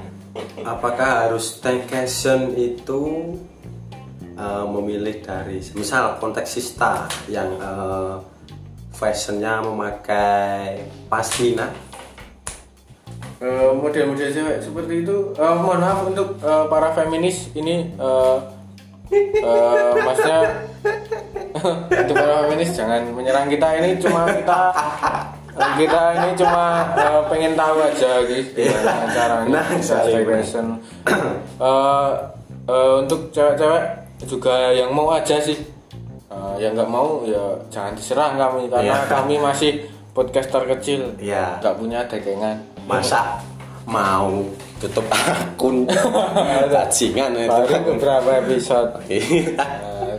Speaker 1: apakah harus staycation itu eh, memilih dari misal konteks sista yang eh, fashionnya memakai pastina
Speaker 2: Eh, model-model cewek seperti itu eh, mohon maaf untuk eh, para feminis ini eh, eh, maksudnya untuk para feminis jangan menyerang kita ini cuma kita eh, kita ini cuma eh, pengen tahu aja guys gimana caranya
Speaker 1: Nah,
Speaker 2: kita
Speaker 1: saling
Speaker 2: stay
Speaker 1: men-
Speaker 2: fashion. Eh, eh, untuk cewek-cewek juga yang mau aja sih Eh, yang nggak mau ya jangan diserang kami karena
Speaker 1: Iya.
Speaker 2: kami masih podcaster kecil
Speaker 1: Iya.
Speaker 2: nggak punya dagangan
Speaker 1: masa mau tutup akun bajingan eh, Nah, itu kan.
Speaker 2: baru beberapa episode
Speaker 1: Iya.
Speaker 2: Nah,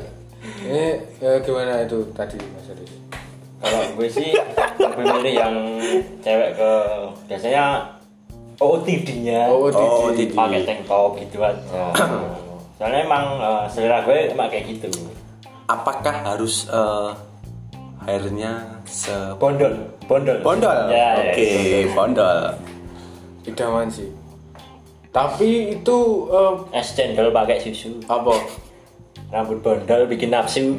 Speaker 2: ini eh, gimana itu tadi mas Adis
Speaker 4: kalau gue sih lebih milih yang cewek ke biasanya OOTD-nya
Speaker 2: OOTD.
Speaker 1: Oh, OOTD.
Speaker 4: pakai tank top gitu aja soalnya emang eh, selera gue emang kayak gitu
Speaker 1: apakah harus eh, hairnya se
Speaker 4: bondol bondol
Speaker 1: bondol
Speaker 4: ya, ya,
Speaker 1: oke bondol
Speaker 2: idaman sih tapi itu eh,
Speaker 4: es cendol pakai susu
Speaker 2: apa
Speaker 4: rambut bondol bikin nafsu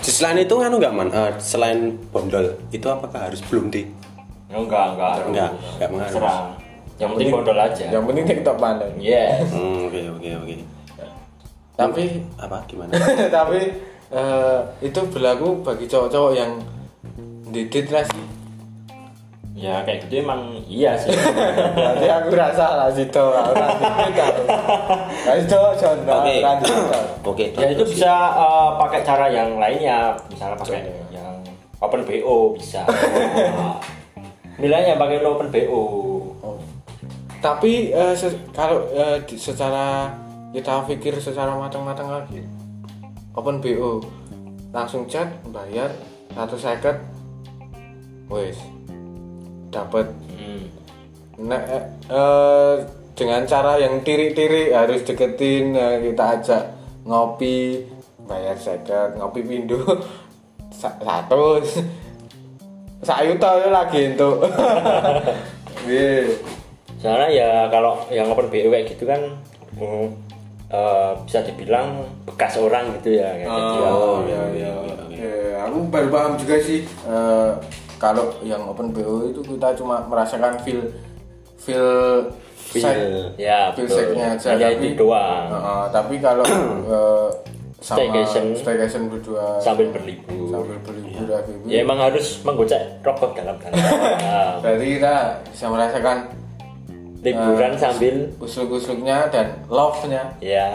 Speaker 1: Di selain itu anu nggak man Eh, selain bondol itu apakah harus belum di
Speaker 4: Ya, enggak enggak
Speaker 1: Enggak, enggak mengaruh.
Speaker 4: Terserah. yang penting bondol aja
Speaker 2: yang penting tiktok pandai
Speaker 4: yes
Speaker 1: Hmm, oke oke oke
Speaker 2: tapi
Speaker 1: apa gimana
Speaker 2: tapi eh, itu berlaku bagi cowok-cowok yang didit lah sih
Speaker 4: ya kayak gitu emang iya sih
Speaker 2: berarti aku rasa lah situ aku Nah, rasa itu harus cowok contoh
Speaker 1: oke
Speaker 2: aku rasa.
Speaker 1: oke
Speaker 4: ya itu bisa eh, pakai cara yang lainnya misalnya pakai yang open bo bisa nilainya pakai open bo
Speaker 2: Oh. tapi eh, se- kalau eh, di- secara kita pikir secara matang-matang lagi open bo langsung chat bayar satu seket wes dapat
Speaker 4: hmm.
Speaker 2: Nek, eh, eh, dengan cara yang tiri-tiri harus deketin eh, kita ajak ngopi bayar seket ngopi pindu sa- satu sayu itu lagi itu Iya.
Speaker 4: soalnya ya kalau yang open bo kayak gitu kan mm, eh, bisa dibilang bekas orang gitu ya kayak gitu.
Speaker 2: Oh, iya, iya, iya. aku baru paham juga sih eh, kalau yang open BO itu kita cuma merasakan feel feel
Speaker 1: Feel.
Speaker 4: ya
Speaker 2: feel
Speaker 4: betul
Speaker 2: seknya aja
Speaker 4: hanya itu doang
Speaker 2: Heeh, tapi kalau eh, sama
Speaker 4: Staycation.
Speaker 2: staycation berdua
Speaker 4: sambil berlibur
Speaker 2: sambil berlibur lagi
Speaker 4: ya emang harus menggocek rokok dalam dalam
Speaker 2: berarti kita bisa merasakan
Speaker 4: liburan
Speaker 2: Nah.
Speaker 4: sambil
Speaker 2: usluk-usluknya dan love-nya
Speaker 4: ya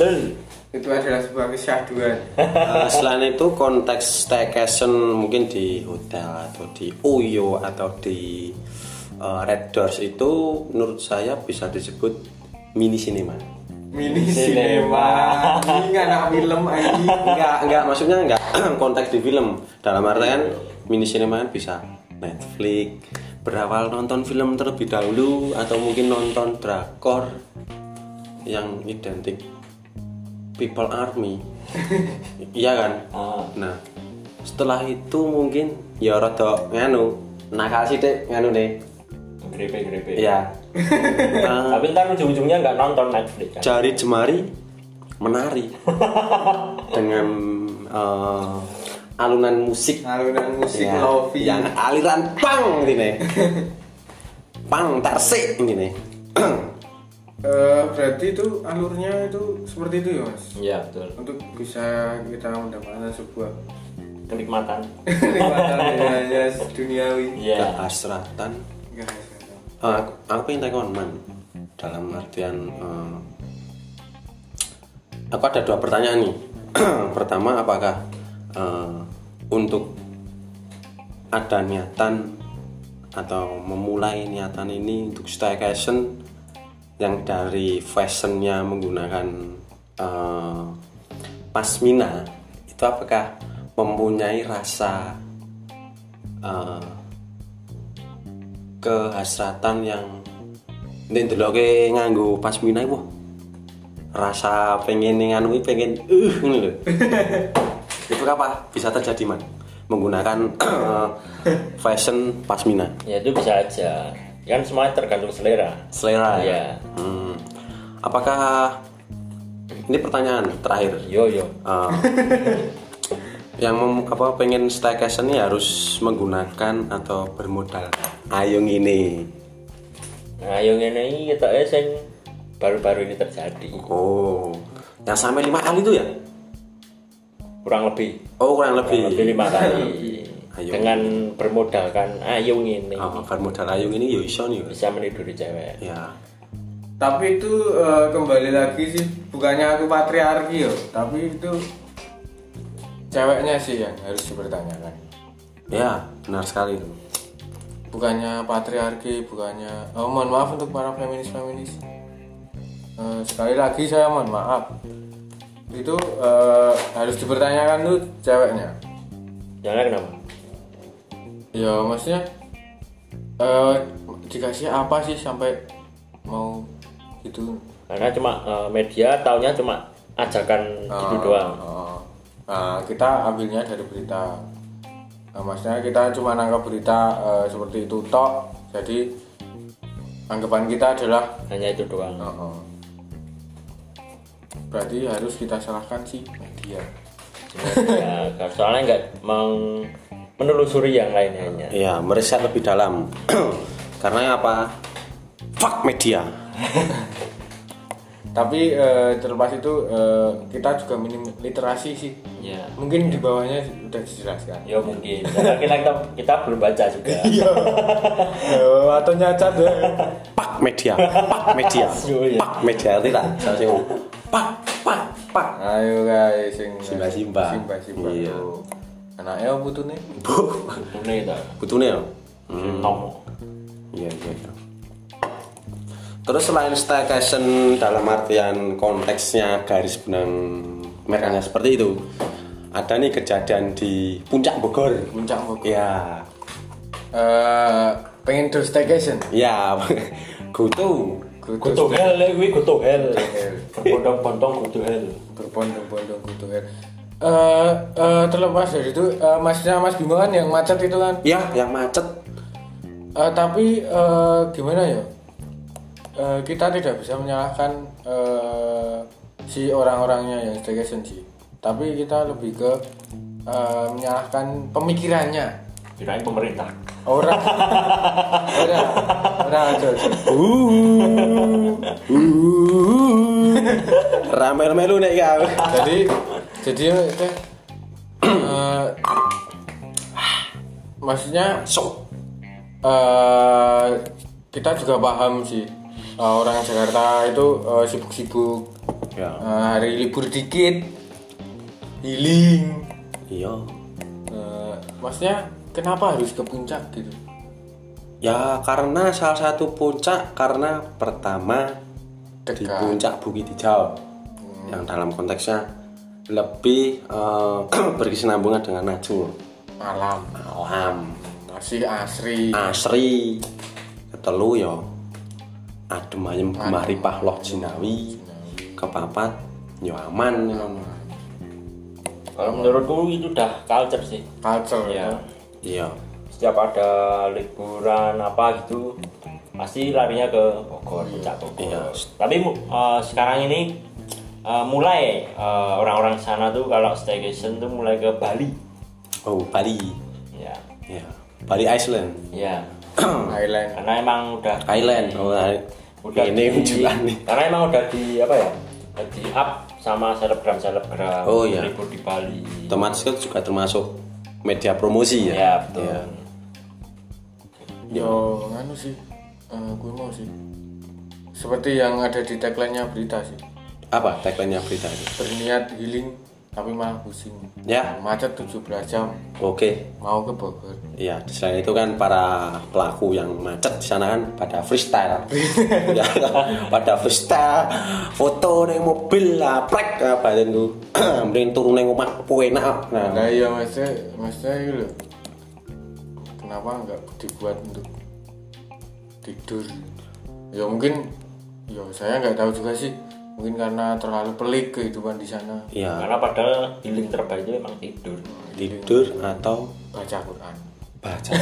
Speaker 4: betul
Speaker 2: itu adalah sebuah kesyahduan
Speaker 1: Eh, selain itu konteks staycation mungkin di hotel atau di Uyo atau di eh, Red Doors itu menurut saya bisa disebut mini cinema.
Speaker 2: mini
Speaker 4: Cinema.
Speaker 2: cinema ini anak film anjing
Speaker 1: Enggak, enggak maksudnya enggak konteks di film. Dalam artian mini cinema kan bisa Netflix berawal nonton film terlebih dahulu atau mungkin nonton drakor yang identik People Army. iya kan?
Speaker 4: Ah.
Speaker 1: Nah, setelah itu mungkin ya rada nganu nakal sithik nganu nih.
Speaker 4: grepe-grepe
Speaker 1: Iya. Nah,
Speaker 4: tapi ntar ujung-ujungnya nggak nonton Netflix kan
Speaker 1: jari jemari menari dengan eh, alunan musik
Speaker 2: alunan musik
Speaker 4: Iya.
Speaker 1: Ya,
Speaker 2: lofi
Speaker 1: yang aliran pang ini pang tarsik ini
Speaker 2: Eh, berarti itu alurnya itu seperti itu ya mas
Speaker 4: iya betul
Speaker 2: untuk bisa kita mendapatkan sebuah
Speaker 4: kenikmatan
Speaker 2: kenikmatan yang hanya duniawi
Speaker 4: iya
Speaker 1: keasratan
Speaker 2: Enggak, enggak, enggak.
Speaker 1: Eh, aku, aku pengen tanya man dalam artian eh, aku ada dua pertanyaan nih pertama apakah eh, untuk ada niatan atau memulai niatan ini untuk staycation yang dari fashionnya menggunakan eh, pasmina itu apakah mempunyai rasa eh, kehasratan yang nek ndeloke nganggo pasmina iku wah, rasa pengen yang anu pengen uh ngono lho. itu apa bisa terjadi man menggunakan fashion pasmina
Speaker 4: ya itu bisa aja kan semuanya tergantung selera
Speaker 1: selera ya
Speaker 4: Iya.
Speaker 1: Hmm. apakah Ini pertanyaan terakhir.
Speaker 4: Yo yo.
Speaker 1: Eh, yang mem- apa pengen staycation ini harus menggunakan atau bermodal ayung ini.
Speaker 4: Nah, yang ini kita sing baru-baru ini terjadi.
Speaker 1: Oh, yang sampai lima kali itu ya?
Speaker 4: Kurang lebih
Speaker 1: Oh kurang lebih.
Speaker 4: lebih lima kali.
Speaker 1: Ayo.
Speaker 4: Dengan bermodalkan ayung ini
Speaker 1: Oh, bermodal ayung ini ya iso nih. Mas.
Speaker 4: bisa meniduri cewek.
Speaker 1: Ya.
Speaker 2: tapi itu eh, kembali lagi sih bukannya aku patriarki yo tapi itu ceweknya sih yang harus dipertanyakan
Speaker 1: Ya, benar sekali.
Speaker 2: bukannya patriarki bukannya oh mohon maaf untuk para feminis feminis sekali lagi saya mohon maaf itu eh, harus dipertanyakan tuh ceweknya
Speaker 4: Jangan kenapa?
Speaker 2: ya maksudnya eh, dikasih apa sih sampai mau gitu
Speaker 4: Karena cuma eh, media taunya cuma ajakan gitu doang.
Speaker 2: Oh. Nah, kita ambilnya dari berita. Nah, maksudnya kita cuma nangkap berita eh, seperti itu tok. Jadi anggapan kita adalah
Speaker 4: Hanya itu doang.
Speaker 2: oh, oh. berarti harus kita salahkan si media.
Speaker 4: ya, soalnya nggak meng- menelusuri yang lainnya.
Speaker 1: Ya, meriset lebih dalam. Karena apa? Fuck media.
Speaker 2: Tapi eh, terlepas itu eh, kita juga minim literasi sih.
Speaker 5: ya
Speaker 2: Mungkin di bawahnya sudah dijelaskan.
Speaker 4: Ya mungkin. Karena kita, kita kita belum baca juga.
Speaker 2: Iya. Eh, atau nyacat ya.
Speaker 1: Pak media, pak media, pak media tidak. Saya sih ngomong, pak, pak, pak.
Speaker 2: Ayo guys, sing
Speaker 1: Simba-simba.
Speaker 2: Simba simba.
Speaker 1: Iya.
Speaker 2: Anaknya apa tuh nih?
Speaker 1: Bu,
Speaker 5: ini itu
Speaker 1: butuhnya ya.
Speaker 5: nom
Speaker 1: Iya iya. iya. Terus selain staycation dalam artian konteksnya garis benang merahnya seperti itu, ada nih kejadian di puncak Bogor.
Speaker 2: Puncak Bogor.
Speaker 1: Ya,
Speaker 2: Eh, pengen terus staycation.
Speaker 1: ya, kutu.
Speaker 2: Kutu
Speaker 5: kutu hell
Speaker 4: eh,
Speaker 5: gue kutu hell berbondong-bondong kutu hell
Speaker 2: berbondong-bondong kutu Eh eh, terlepas dari itu, eh, maksudnya Mas Bimo kan yang macet itu kan.
Speaker 1: Ya, yang macet.
Speaker 2: Eh, tapi eh, gimana ya? Eh, kita tidak bisa menyalahkan eh, si orang-orangnya yang staycation sih. Tapi kita lebih ke eh, menyalahkan pemikirannya.
Speaker 5: kirain pemerintah
Speaker 2: Orang. Orang. Orang aja. aja.
Speaker 1: Uh, uh, ramel-melu nih kau.
Speaker 2: Jadi jadi teh eh, maksudnya
Speaker 1: So,
Speaker 2: eh, kita juga paham sih eh, orang Jakarta itu eh, sibuk-sibuk
Speaker 1: ya,
Speaker 2: Eh, hari libur dikit healing
Speaker 1: iya.
Speaker 2: Eh, maksudnya kenapa harus ke puncak gitu
Speaker 1: Ya karena salah satu puncak karena pertama di
Speaker 2: dekat
Speaker 1: puncak Bukit Hijau yang dalam konteksnya lebih eh, berkesinambungan dengan Najul
Speaker 2: malam
Speaker 1: alam
Speaker 2: masih asri
Speaker 1: Iya. asri ketelu yo adem ayem gemari pahloh jinawi kepapat yo aman ngono.
Speaker 4: Kalau menurutku itu udah culture sih.
Speaker 2: culture
Speaker 4: Ya.
Speaker 1: iya
Speaker 4: Setiap ada liburan apa gitu pasti larinya ke Bogor, puncak Bogor.
Speaker 1: Iya.
Speaker 4: Tapi mu- eh, sekarang ini eh, mulai eh, orang-orang sana tuh kalau staycation tuh mulai ke Bali.
Speaker 1: oh Bali
Speaker 4: Ya.
Speaker 1: ya Bali Iceland
Speaker 4: Ya.
Speaker 2: eh, Thailand
Speaker 4: Karena emang udah
Speaker 1: Island oh, I- ini ujulan nih
Speaker 4: karena emang udah di apa ya di up sama selebgram selebgram
Speaker 1: Oh, iya.
Speaker 4: libur di Bali
Speaker 1: otomatis kan juga termasuk media promosi ya
Speaker 4: ya betul
Speaker 1: Iya.
Speaker 2: Yo, nganu sih, eh, gue mau sih. Seperti yang ada di tagline-nya berita sih.
Speaker 1: apa tagline nya berita itu
Speaker 2: Berniat healing, tapi malah pusing.
Speaker 1: Ya.
Speaker 2: Macet 17 jam,
Speaker 1: oke
Speaker 2: mau ke Bogor.
Speaker 1: Iya, selain itu kan para pelaku yang macet di sana kan pada freestyle. ya, pada freestyle, foto neng mobil lah, prek apa itu. Mending turun neng omah apa enak. Nah,
Speaker 2: Nah iya maksudnya, maksudnya itu eh, gitu loh. Kenapa nggak dibuat untuk tidur? Ya mungkin, ya saya nggak tahu juga sih. Mungkin karena terlalu pelik kehidupan di sana.
Speaker 1: iya,
Speaker 4: karena padahal healing terbaik itu emang tidur
Speaker 1: tidur atau
Speaker 2: Baca Quran.
Speaker 1: baca.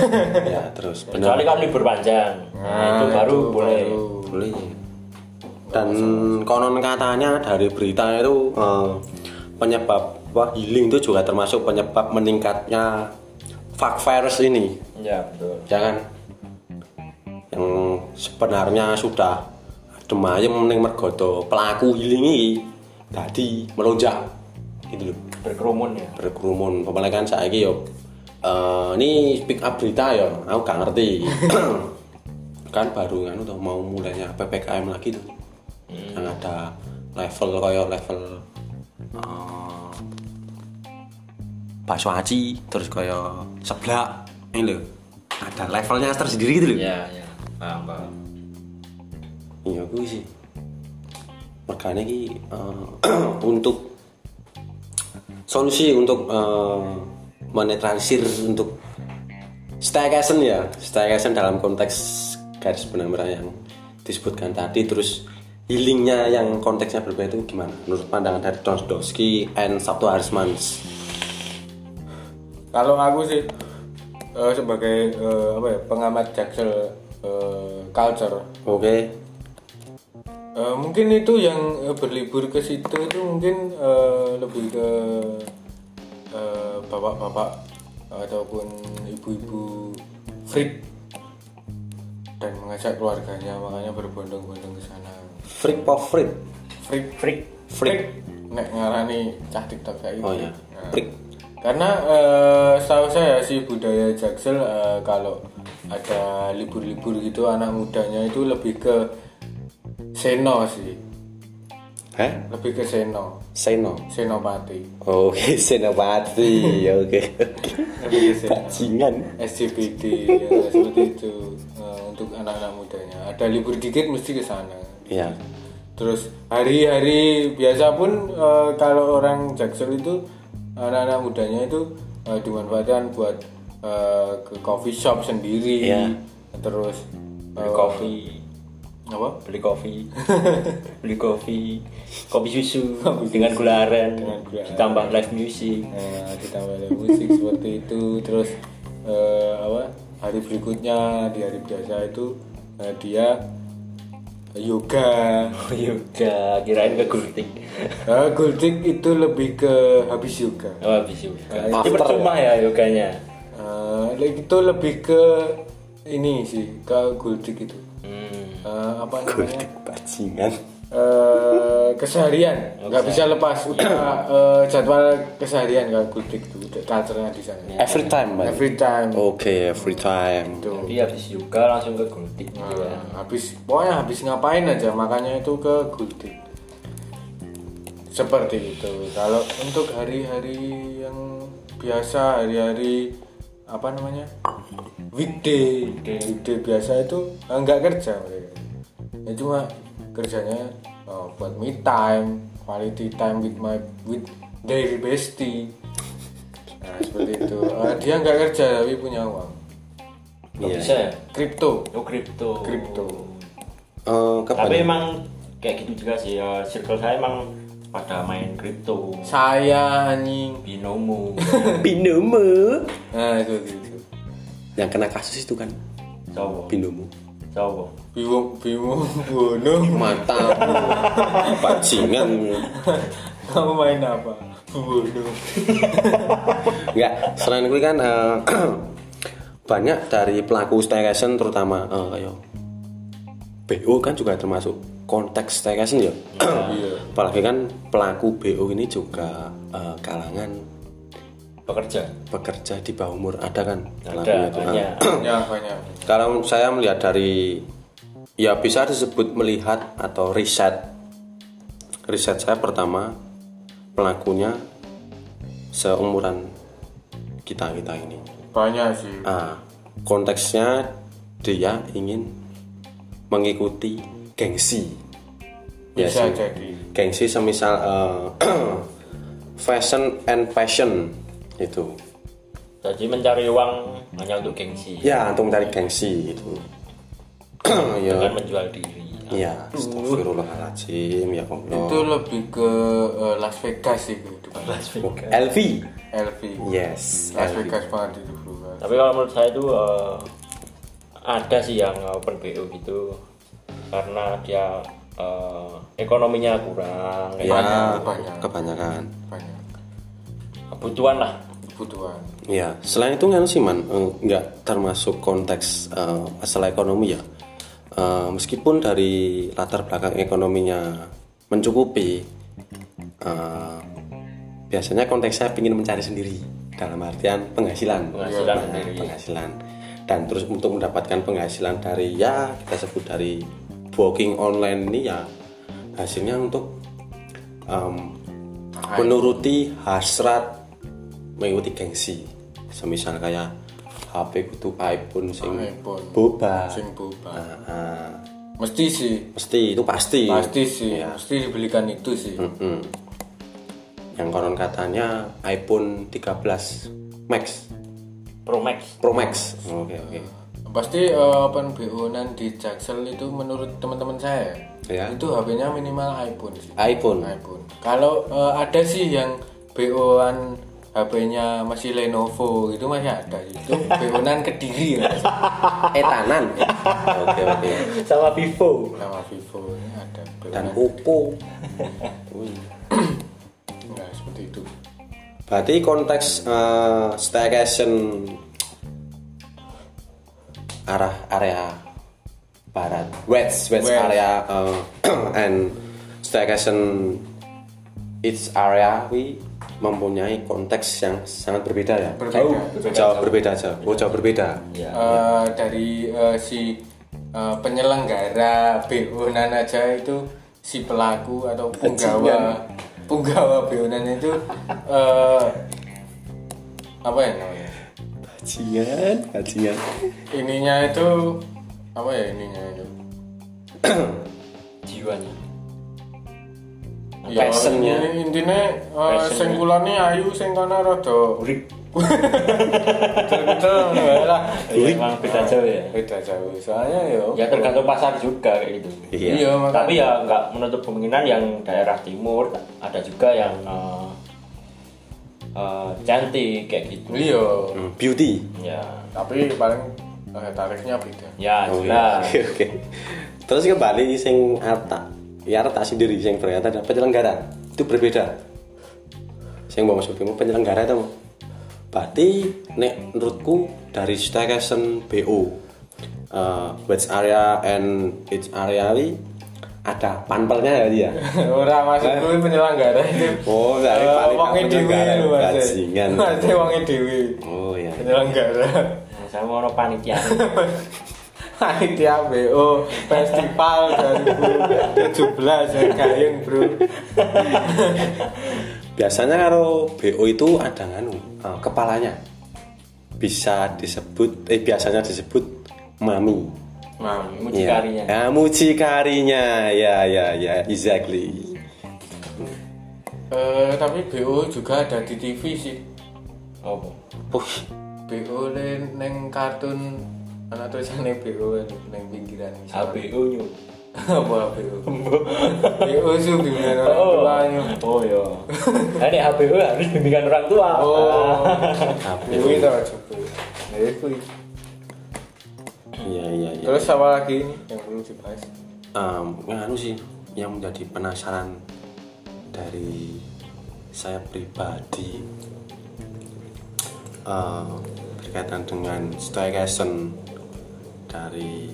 Speaker 1: ya, terus benar Ah,
Speaker 4: kecuali kan libur panjang nah, itu baru boleh
Speaker 2: Baru
Speaker 1: boleh. dan konon katanya dari berita itu eh, penyebab wah healing itu juga termasuk penyebab meningkatnya fuck virus ini
Speaker 4: ya betul
Speaker 1: jangan kan? yang sebenarnya sudah demayem ning mergoto pelaku healing ini tadi melonjak gitu loh
Speaker 4: berkerumun ya
Speaker 1: berkerumun pemain kan saya yo eh, ini pick up berita yo aku gak ngerti kan baru kan udah mau mulainya ppkm lagi tuh yang ada level kayak level eh, bakso aci terus kayak seblak ini loh ada levelnya tersendiri gitu loh
Speaker 4: ya ya paham paham
Speaker 1: iya gue sih makanya ki eh, untuk solusi untuk eh, menetralisir untuk staycation ya staycation dalam konteks garis benang merah yang disebutkan tadi terus healingnya yang konteksnya berbeda itu gimana menurut pandangan dari Don Doski and Sabtu Harismans
Speaker 2: Kalau aku sih eh, sebagai eh, apa ya, pengamat jaksel eh, culture,
Speaker 1: oke
Speaker 2: eh, mungkin itu yang eh, berlibur ke situ itu mungkin eh, lebih ke eh, bapak-bapak ataupun ibu-ibu freak dan mengajak keluarganya makanya berbondong-bondong ke sana.
Speaker 1: freak po freak
Speaker 2: Freak
Speaker 4: freak
Speaker 1: freak
Speaker 2: nek ngarani cah TikTok kayak
Speaker 1: oh
Speaker 2: gitu.
Speaker 1: ya freak
Speaker 2: Karena eh, setahu saya sih budaya Jaksel eh, kalau ada libur-libur gitu anak mudanya itu lebih ke seno sih,
Speaker 1: heh
Speaker 2: lebih ke seno,
Speaker 1: say no
Speaker 2: senopati,
Speaker 1: Oke, Oh, senopati. Oke.
Speaker 2: lebih ke seno.
Speaker 1: Bajingan.
Speaker 2: SCBD ya, seperti itu Eh, untuk anak-anak mudanya. Ada libur dikit mesti ke sana.
Speaker 1: Iya.
Speaker 2: Terus hari-hari biasa pun eh, kalau orang Jaksel itu anak-anak mudanya itu eh, dimanfaatkan buat eh, ke coffee shop sendiri.
Speaker 1: Iya.
Speaker 2: Terus eh,
Speaker 4: beli kopi
Speaker 2: apa? Nah,
Speaker 4: beli kopi beli kopi kopi susu dengan gula aren Iya.
Speaker 2: gula aren.
Speaker 4: ditambah live music
Speaker 2: Nah, ditambah ada musik seperti itu. Terus eh, apa? Hari berikutnya di hari biasa itu eh, dia eh, yoga.
Speaker 4: yoga Oh, iya, kirain ke gultik
Speaker 2: Eh, Gultik itu lebih ke habis yoga.
Speaker 4: oh habis yoga ini
Speaker 1: After
Speaker 4: percuma ya yoganya
Speaker 2: Eh, itu lebih ke ini sih ke gultik itu
Speaker 4: hmm.
Speaker 2: Eh, apa namanya
Speaker 1: Bajingan.
Speaker 2: Eh, keseharian nggak bisa lepas udah eh, jadwal keseharian kalau gultik itu udah culture-nya di sana
Speaker 1: Every time, Bang.
Speaker 2: every time
Speaker 1: Oke, every time.
Speaker 2: itu
Speaker 4: jadi habis yoga langsung ke gultik gitu ya
Speaker 2: Nah, habis pokoknya habis ngapain aja makanya itu ke gultik seperti itu kalau untuk hari-hari yang biasa hari-hari apa namanya weekday weekday biasa itu eh, nggak kerja mereka ya cuma kerjanya eh, buat me time quality time with my with their bestie nah seperti itu Eh, dia nggak kerja tapi punya uang
Speaker 4: Kok bisa ya
Speaker 2: kripto
Speaker 4: oh kripto
Speaker 2: kripto
Speaker 1: Eh,
Speaker 4: tapi
Speaker 1: kepada
Speaker 4: emang kayak gitu juga sih ya circle saya emang pada main kripto
Speaker 2: saya anjing
Speaker 4: binomo
Speaker 1: binomo.
Speaker 2: nah itu gitu
Speaker 1: Yang kena kasus itu kan
Speaker 4: cowo
Speaker 1: binomo.
Speaker 4: cowo
Speaker 2: bingung bingung bunuh
Speaker 1: Mata bajingan.
Speaker 2: kamu main apa bunuh
Speaker 1: Enggak, selain gue kan eh, banyak dari pelaku staycation terutama eh, yo. BO kan juga termasuk konteks staycation ya.
Speaker 2: iya
Speaker 1: Apalagi kan pelaku BO ini juga eh, kalangan
Speaker 4: pekerja
Speaker 1: pekerja di bawah umur ada kan
Speaker 4: ada
Speaker 1: pelakunya itu? Nah,
Speaker 2: banyak
Speaker 4: banyak
Speaker 2: banyak
Speaker 1: Kalau saya melihat dari ya bisa disebut melihat atau riset. Riset saya pertama pelakunya seumuran kita kita ini.
Speaker 2: banyak sih
Speaker 1: Ah, konteksnya dia ingin mengikuti gengsi. Ya
Speaker 2: bisa
Speaker 1: sih.
Speaker 2: jadi
Speaker 1: Gengsi semisal eh, fashion and passion gitu. itu.
Speaker 4: jadi mencari uang hanya untuk gengsi
Speaker 1: Ya, untuk mencari gengsi itu. ya.
Speaker 4: dengan menjual diri
Speaker 1: Iya, astagfirullahaladzim ya
Speaker 2: itu
Speaker 1: Allah.
Speaker 2: lebih ke eh, Las Vegas sih kehidupan
Speaker 1: LV.
Speaker 2: LV
Speaker 1: Iya. Yes,
Speaker 2: Las
Speaker 1: LV.
Speaker 2: Vegas banget itu kan. bro
Speaker 4: tapi kalau menurut saya itu eh, ada sih yang open BO gitu karena dia eh, ekonominya kurang kayak
Speaker 1: ya
Speaker 2: kebanyakan.
Speaker 1: kebanyakan
Speaker 2: banyak
Speaker 4: kebutuhan lah
Speaker 2: kebutuhan
Speaker 1: ya selain itu kan sih man eh, nggak termasuk konteks eh, masalah ekonomi ya Eh, meskipun dari latar belakang ekonominya mencukupi eh, biasanya konteksnya ingin mencari sendiri dalam artian penghasilan
Speaker 4: penghasilan
Speaker 1: Nah,
Speaker 4: sendiri.
Speaker 1: penghasilan dan terus untuk mendapatkan penghasilan dari ya kita sebut dari booking online ini ya hasilnya untuk em, menuruti hasrat mengikuti gengsi semisal kayak HP butuh iPhone sing
Speaker 2: iPhone.
Speaker 1: boba
Speaker 2: sing boba
Speaker 1: Nah, nah,
Speaker 2: mesti sih
Speaker 1: mesti itu pasti
Speaker 2: pasti sih mesti dibelikan itu sih
Speaker 1: Mm-mm. yang konon katanya iPhone 13 Max
Speaker 4: Pro Max
Speaker 1: Pro Max oke oke
Speaker 2: pasti eh, open BO nan di Jaksel itu menurut teman-teman saya
Speaker 1: Ya.
Speaker 2: itu HP-nya minimal iPhone sih
Speaker 1: iPhone
Speaker 2: iPhone kalau eh, ada sih yang BO-an HP-nya masih Lenovo itu masih ada itu BO-an kediri lah
Speaker 1: etanan oke oke
Speaker 4: sama Vivo
Speaker 2: nama Vivo ini ada BO
Speaker 1: dan Oppo
Speaker 2: nah seperti itu
Speaker 1: berarti konteks eh, staycation arah area barat west west,
Speaker 2: West.
Speaker 1: area eh, and staycation its area we mempunyai konteks yang sangat berbeda ya
Speaker 2: Berbeda.
Speaker 1: jauh
Speaker 2: Berbeda,
Speaker 1: jauh berbeda jauh oh jauh berbeda
Speaker 2: Eh, dari eh, si eh, penyelenggara BO nan aja itu si pelaku atau punggawa punggawa BO nan itu eh, apa ya namanya
Speaker 1: kajian kajian
Speaker 2: ininya itu apa ya ininya itu
Speaker 4: jiwanya
Speaker 2: ya
Speaker 1: Nah, Passionnya.
Speaker 2: ini intinya eh, sing kulane ayu sing kana rada
Speaker 4: Urik
Speaker 2: betul lah
Speaker 4: ya, emang beda jauh ya
Speaker 2: beda jauh soalnya yo
Speaker 4: ya tergantung pasar juga kayak gitu
Speaker 1: iya
Speaker 2: iya makanya
Speaker 4: tapi ya nggak menutup kemungkinan yang daerah timur ada juga yang eh, eh, cantik kayak gitu
Speaker 2: iya
Speaker 1: Hmm, beauty
Speaker 4: ya
Speaker 2: tapi paling eh, tarifnya beda
Speaker 4: ya
Speaker 1: Oh,
Speaker 4: jelas
Speaker 1: Oke, oke. Terus kembali sing Arta. Ya Arta sendiri sing ternyata ada penyelenggara. Itu berbeda. Sing mau masuk mau penyelenggara itu. Berarti nek menurutku dari staycation BO uh, West area and its area ini ada panpelnya ya dia.
Speaker 2: ora masuk kuwi penyelenggara itu
Speaker 1: Oh, dari
Speaker 2: Eh,
Speaker 1: paling
Speaker 2: wonge dhewe
Speaker 1: penyelenggara,
Speaker 2: lho
Speaker 1: bajingan.
Speaker 2: Mas. Mas wonge dhewe
Speaker 1: Oh
Speaker 2: iya.
Speaker 1: ya.
Speaker 2: penyelenggara.
Speaker 4: Nah, saya mau ono panitia
Speaker 2: Panitia BO Festival 2017 ya Gayeng, Bro.
Speaker 1: Biasanya kalau BO itu ada nganu uh, kepalanya. Bisa disebut eh biasanya disebut mami.
Speaker 4: Nah,
Speaker 2: Mami.
Speaker 4: mujikarinya
Speaker 1: Ya, mujikarinya. Ya, ya, ya, exactly.
Speaker 2: Eh, tapi BO juga ada di TV sih.
Speaker 4: oh
Speaker 1: Uh,
Speaker 2: BO le- neng kartun ana tulisane BO neng pinggiran misal.
Speaker 4: HBU nyu
Speaker 2: Apa BO? BO su bimbingan orang
Speaker 4: oh
Speaker 2: tua, yo.
Speaker 4: oh yo nah, ini HBU harus bimbingan orang tua
Speaker 2: Oh.
Speaker 1: tapi-
Speaker 2: Kuwi to coba. Eh, kuwi.
Speaker 1: Iya, iya, iya.
Speaker 2: Terus apa lagi ini yang perlu dibahas?
Speaker 4: Iya.
Speaker 1: Em, nganu sih yang menjadi penasaran dari saya pribadi eh, berkaitan dengan staycation dari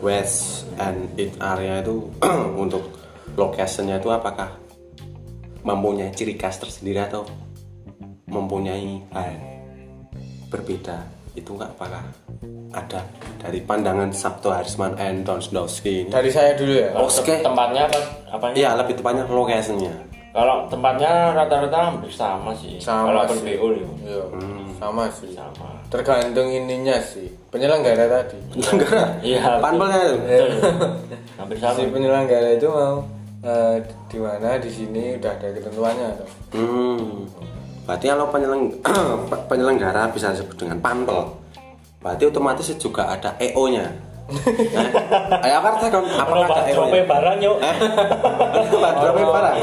Speaker 1: West and it area itu untuk location-nya itu apakah mempunyai ciri khas tersendiri atau mempunyai hal berbeda itu nggak apakah ada dari pandangan Sabto Harisman and Don Sendowski ini
Speaker 2: Dari saya dulu ya.
Speaker 4: Kalau
Speaker 1: Oke.
Speaker 4: tem- tempatnya apa apanya
Speaker 1: Iya lebih tepatnya lokasinya
Speaker 4: kalau tempatnya rata-rata hampir sama sih
Speaker 2: Sama
Speaker 4: kalau open
Speaker 2: sih.
Speaker 4: BO yo
Speaker 2: Iya, sama sih.
Speaker 4: Hmm. sama
Speaker 2: Tergantung ininya sih. Penyelenggara tadi.
Speaker 1: negara
Speaker 4: Iya.
Speaker 1: panpelnya itu
Speaker 4: hampir
Speaker 2: Si
Speaker 4: sama
Speaker 2: penyelenggara itu mau eh, di mana di sini udah ada ketentuannya atau
Speaker 1: hmm. berarti kalau penyeleng- penyelenggara bisa disebut dengan panpel berarti otomatis juga ada E EO nya nah, ayo apa artinya kan apakah ada EO
Speaker 4: Trope
Speaker 1: nya
Speaker 4: barang yuk
Speaker 1: Bandropnya parah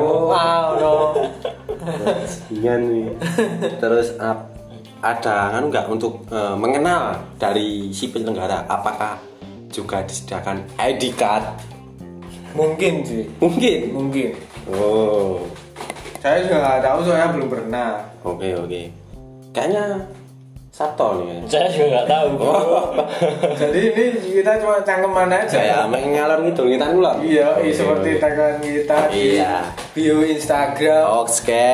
Speaker 2: Wow, no.
Speaker 1: Iya nih. Terus ap- ada kan nggak untuk eh, mengenal dari si penyelenggara apakah juga disediakan ID card
Speaker 2: mungkin sih
Speaker 1: mungkin
Speaker 2: mungkin
Speaker 1: oh
Speaker 2: saya juga nggak tahu soalnya belum pernah
Speaker 1: oke oke kayaknya Sabto nih
Speaker 4: Saya juga nggak tahu.
Speaker 2: jadi ini kita cuma cangkeman aja
Speaker 1: kayak mengalor gitu kita ular
Speaker 2: iya iya, seperti tangan kita
Speaker 1: Iya.
Speaker 2: di bio Instagram
Speaker 1: oke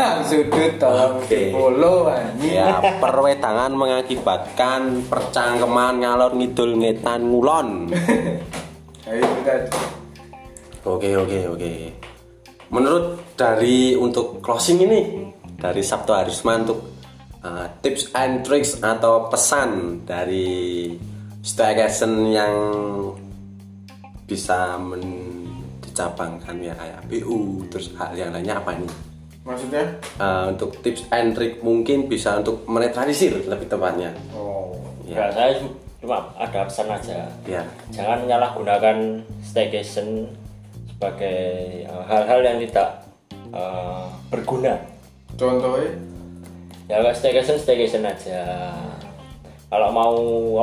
Speaker 2: Bang sudut tolong
Speaker 1: Oke.
Speaker 2: di follow anjing
Speaker 1: ya perwedangan mengakibatkan percangkeman ngalor ngidul ngetan ngulon
Speaker 2: Ayo kita
Speaker 1: Oke oke oke. Menurut dari untuk closing ini dari Sabto Harisman untuk uh, tips and tricks atau pesan dari staycation yang bisa mencapangkan ya kayak BU terus hal yang lainnya apa nih?
Speaker 2: maksudnya
Speaker 1: Uh, untuk tips and trick mungkin bisa untuk menetralisir lebih tepatnya.
Speaker 2: oh
Speaker 1: Ya.
Speaker 4: Nggak, saya cuma ada pesan aja.
Speaker 1: Ya.
Speaker 4: Jangan menyalahgunakan staycation sebagai eh, hal-hal yang tidak eh, berguna.
Speaker 2: contohnya
Speaker 4: Ya kalau staycation staycation aja. Kalau mau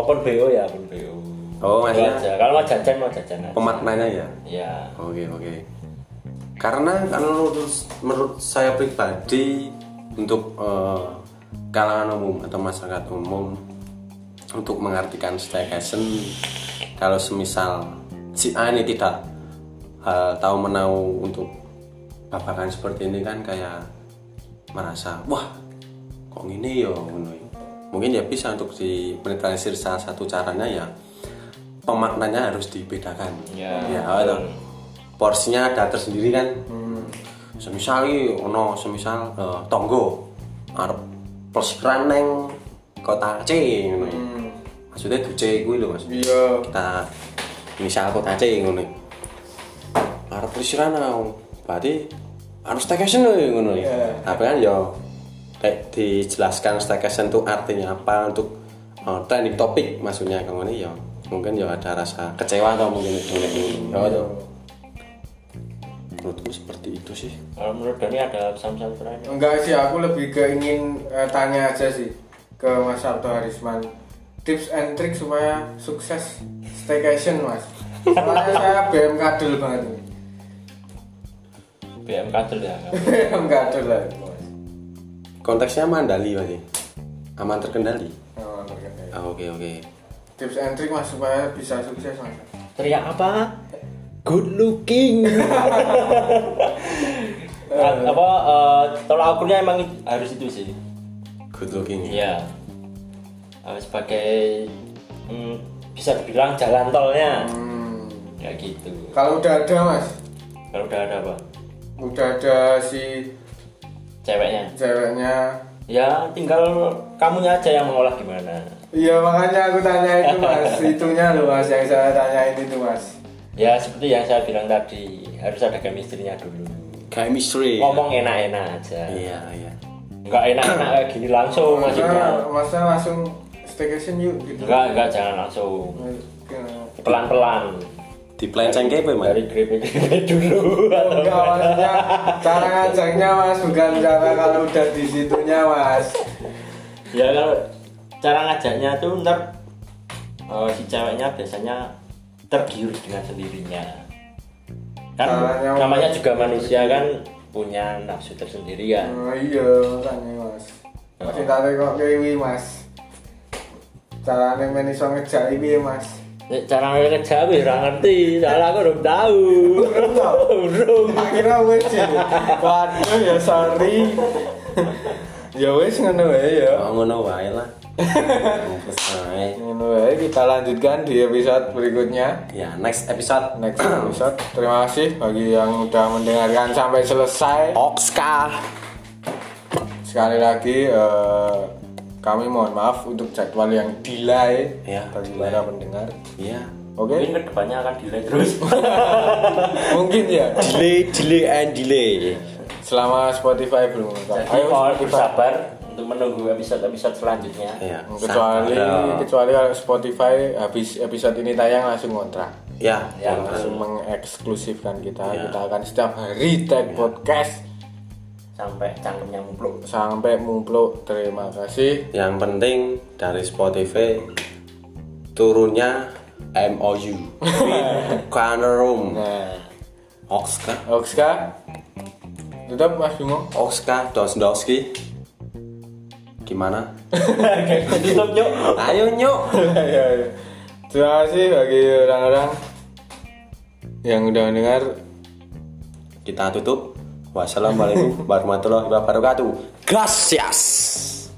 Speaker 4: open BO ya open BO.
Speaker 1: Oh,
Speaker 4: Itu
Speaker 1: maksudnya?
Speaker 4: aja. Kalau mau jajan mau jajan aja.
Speaker 1: Pemaknanya ya.
Speaker 4: Ya.
Speaker 1: Oke oke. Karena kalau menurut, menurut saya pribadi untuk eh, kalangan umum atau masyarakat umum untuk mengartikan staycation kalau semisal si A ini tidak eh, tahu menau untuk babakan seperti ini kan kayak merasa wah kok gini yo ngono ya." mungkin ya bisa untuk di menetralisir salah satu caranya ya pemaknanya harus dibedakan
Speaker 4: Ya.
Speaker 1: ya atau porsinya ada tersendiri kan semisal iki ono semisal eh, tonggo arep pelesiran neng kota C ngono ya. maksudnya di C kuwi lho Mas
Speaker 2: iya
Speaker 1: kita misal kota C ngono ya. arep pelesiran aku berarti harus staycation lho ya, ngono ya
Speaker 2: Iya.
Speaker 1: tapi kan ya kayak dijelaskan staycation itu artinya apa untuk eh, trending topik maksudnya kamu ini ya mungkin ya ada rasa kecewa atau mungkin itu ya itu. menurutku seperti itu sih
Speaker 4: Kalau menurut Doni ada pesan-pesan terakhir?
Speaker 2: enggak sih aku lebih ke ingin eh, tanya aja sih ke Mas Sabto Harisman tips and trick supaya sukses staycation mas soalnya saya BM kadul banget nih.
Speaker 4: BM kadel ya.
Speaker 2: BM kadul lah mas
Speaker 1: konteksnya mandali berarti aman terkendali
Speaker 2: Oh, terkendali.
Speaker 1: Ah, oke oke
Speaker 2: tips and trick mas supaya bisa sukses mas
Speaker 4: Teriak apa? Good looking. apa eh, tolak ukurnya emang it- harus itu sih.
Speaker 1: good looking ya
Speaker 4: Iya. Eh, sebagai mm, bisa dibilang jalan tolnya.
Speaker 2: Hmm.
Speaker 4: Ya gitu.
Speaker 2: kalau udah ada mas
Speaker 4: Kalau udah ada apa?
Speaker 2: udah ada si
Speaker 4: Ceweknya.
Speaker 2: ceweknya
Speaker 4: Ya tinggal kamunya aja yang mengolah gimana.
Speaker 2: iya makanya aku tanya itu mas itunya loh mas yang saya tanyain itu mas
Speaker 4: Ya seperti yang saya bilang tadi harus ada chemistry-nya dulu.
Speaker 1: chemistry
Speaker 4: Ngomong enak-enak aja.
Speaker 1: iya iya
Speaker 4: Enggak enak-enak kayak gini
Speaker 2: Iya.
Speaker 4: langsung maksudnya.
Speaker 2: masa masa langsung staycation yuk gitu
Speaker 4: ya. Enggak, enggak jangan langsung.
Speaker 2: Enggak,
Speaker 4: Pelan-pelan.
Speaker 1: di pelenceng kepe mas
Speaker 4: Dari grepe-grepe dulu atau
Speaker 2: maksudnya cara ngajaknya mas bukan cara kalau udah di situnya mas
Speaker 4: ya kalau cara ngajaknya tuh ntar eh, si ceweknya biasanya tergiur dengan sendirinya kan
Speaker 2: Caranya apa?
Speaker 4: namanya juga manusia kan punya nafsu tersendiri ya
Speaker 2: oh, iya makanya mas masih tarik kok kewi mas caranya men iso ngejak ini mas
Speaker 4: Nek cara kerja aku ora ngerti soalnya aku belum tahu
Speaker 2: Belum tahu?
Speaker 4: belum
Speaker 2: akhirnya wes sih waduh ya sorry ya wes ngono wae ya
Speaker 1: oh ngono wae lah Mampus wae.
Speaker 2: ngono wae kita lanjutkan di episode berikutnya
Speaker 1: ya next episode
Speaker 2: next episode terima kasih bagi yang udah mendengarkan sampai selesai
Speaker 1: Okska
Speaker 2: sekali lagi eh, kami mohon maaf untuk jadwal yang delay
Speaker 1: Ya,
Speaker 2: bagi
Speaker 1: delay.
Speaker 2: para pendengar
Speaker 1: iya
Speaker 2: oke
Speaker 4: mungkin kedepannya akan delay terus
Speaker 2: mungkin ya
Speaker 1: delay delay and delay
Speaker 2: selama Spotify belum lengkap
Speaker 4: jadi mohon bersabar untuk menunggu episode-episode selanjutnya
Speaker 1: iya
Speaker 2: kecuali
Speaker 1: sabar.
Speaker 2: kecuali kalau Spotify habis episode ini tayang langsung kontrak
Speaker 1: ya
Speaker 4: Ya,
Speaker 2: langsung mengeksklusifkan kita kita akan setiap hari tag podcast
Speaker 4: sampai cangkemnya mumpluk
Speaker 2: sampai mumplo terima kasih
Speaker 1: yang penting dari Spotify turunnya MOU with Canarum
Speaker 2: Nah,
Speaker 1: Oxka
Speaker 2: Oxka tetap Mas Bimo.
Speaker 1: Oxka Dosdowski gimana?
Speaker 4: Tutup yuk.
Speaker 1: Ayo nyok
Speaker 2: Ya, ya. Terima kasih bagi orang-orang yang udah mendengar.
Speaker 1: kita tutup wassalamualaikum warahmatullahi wabarakatuh gracias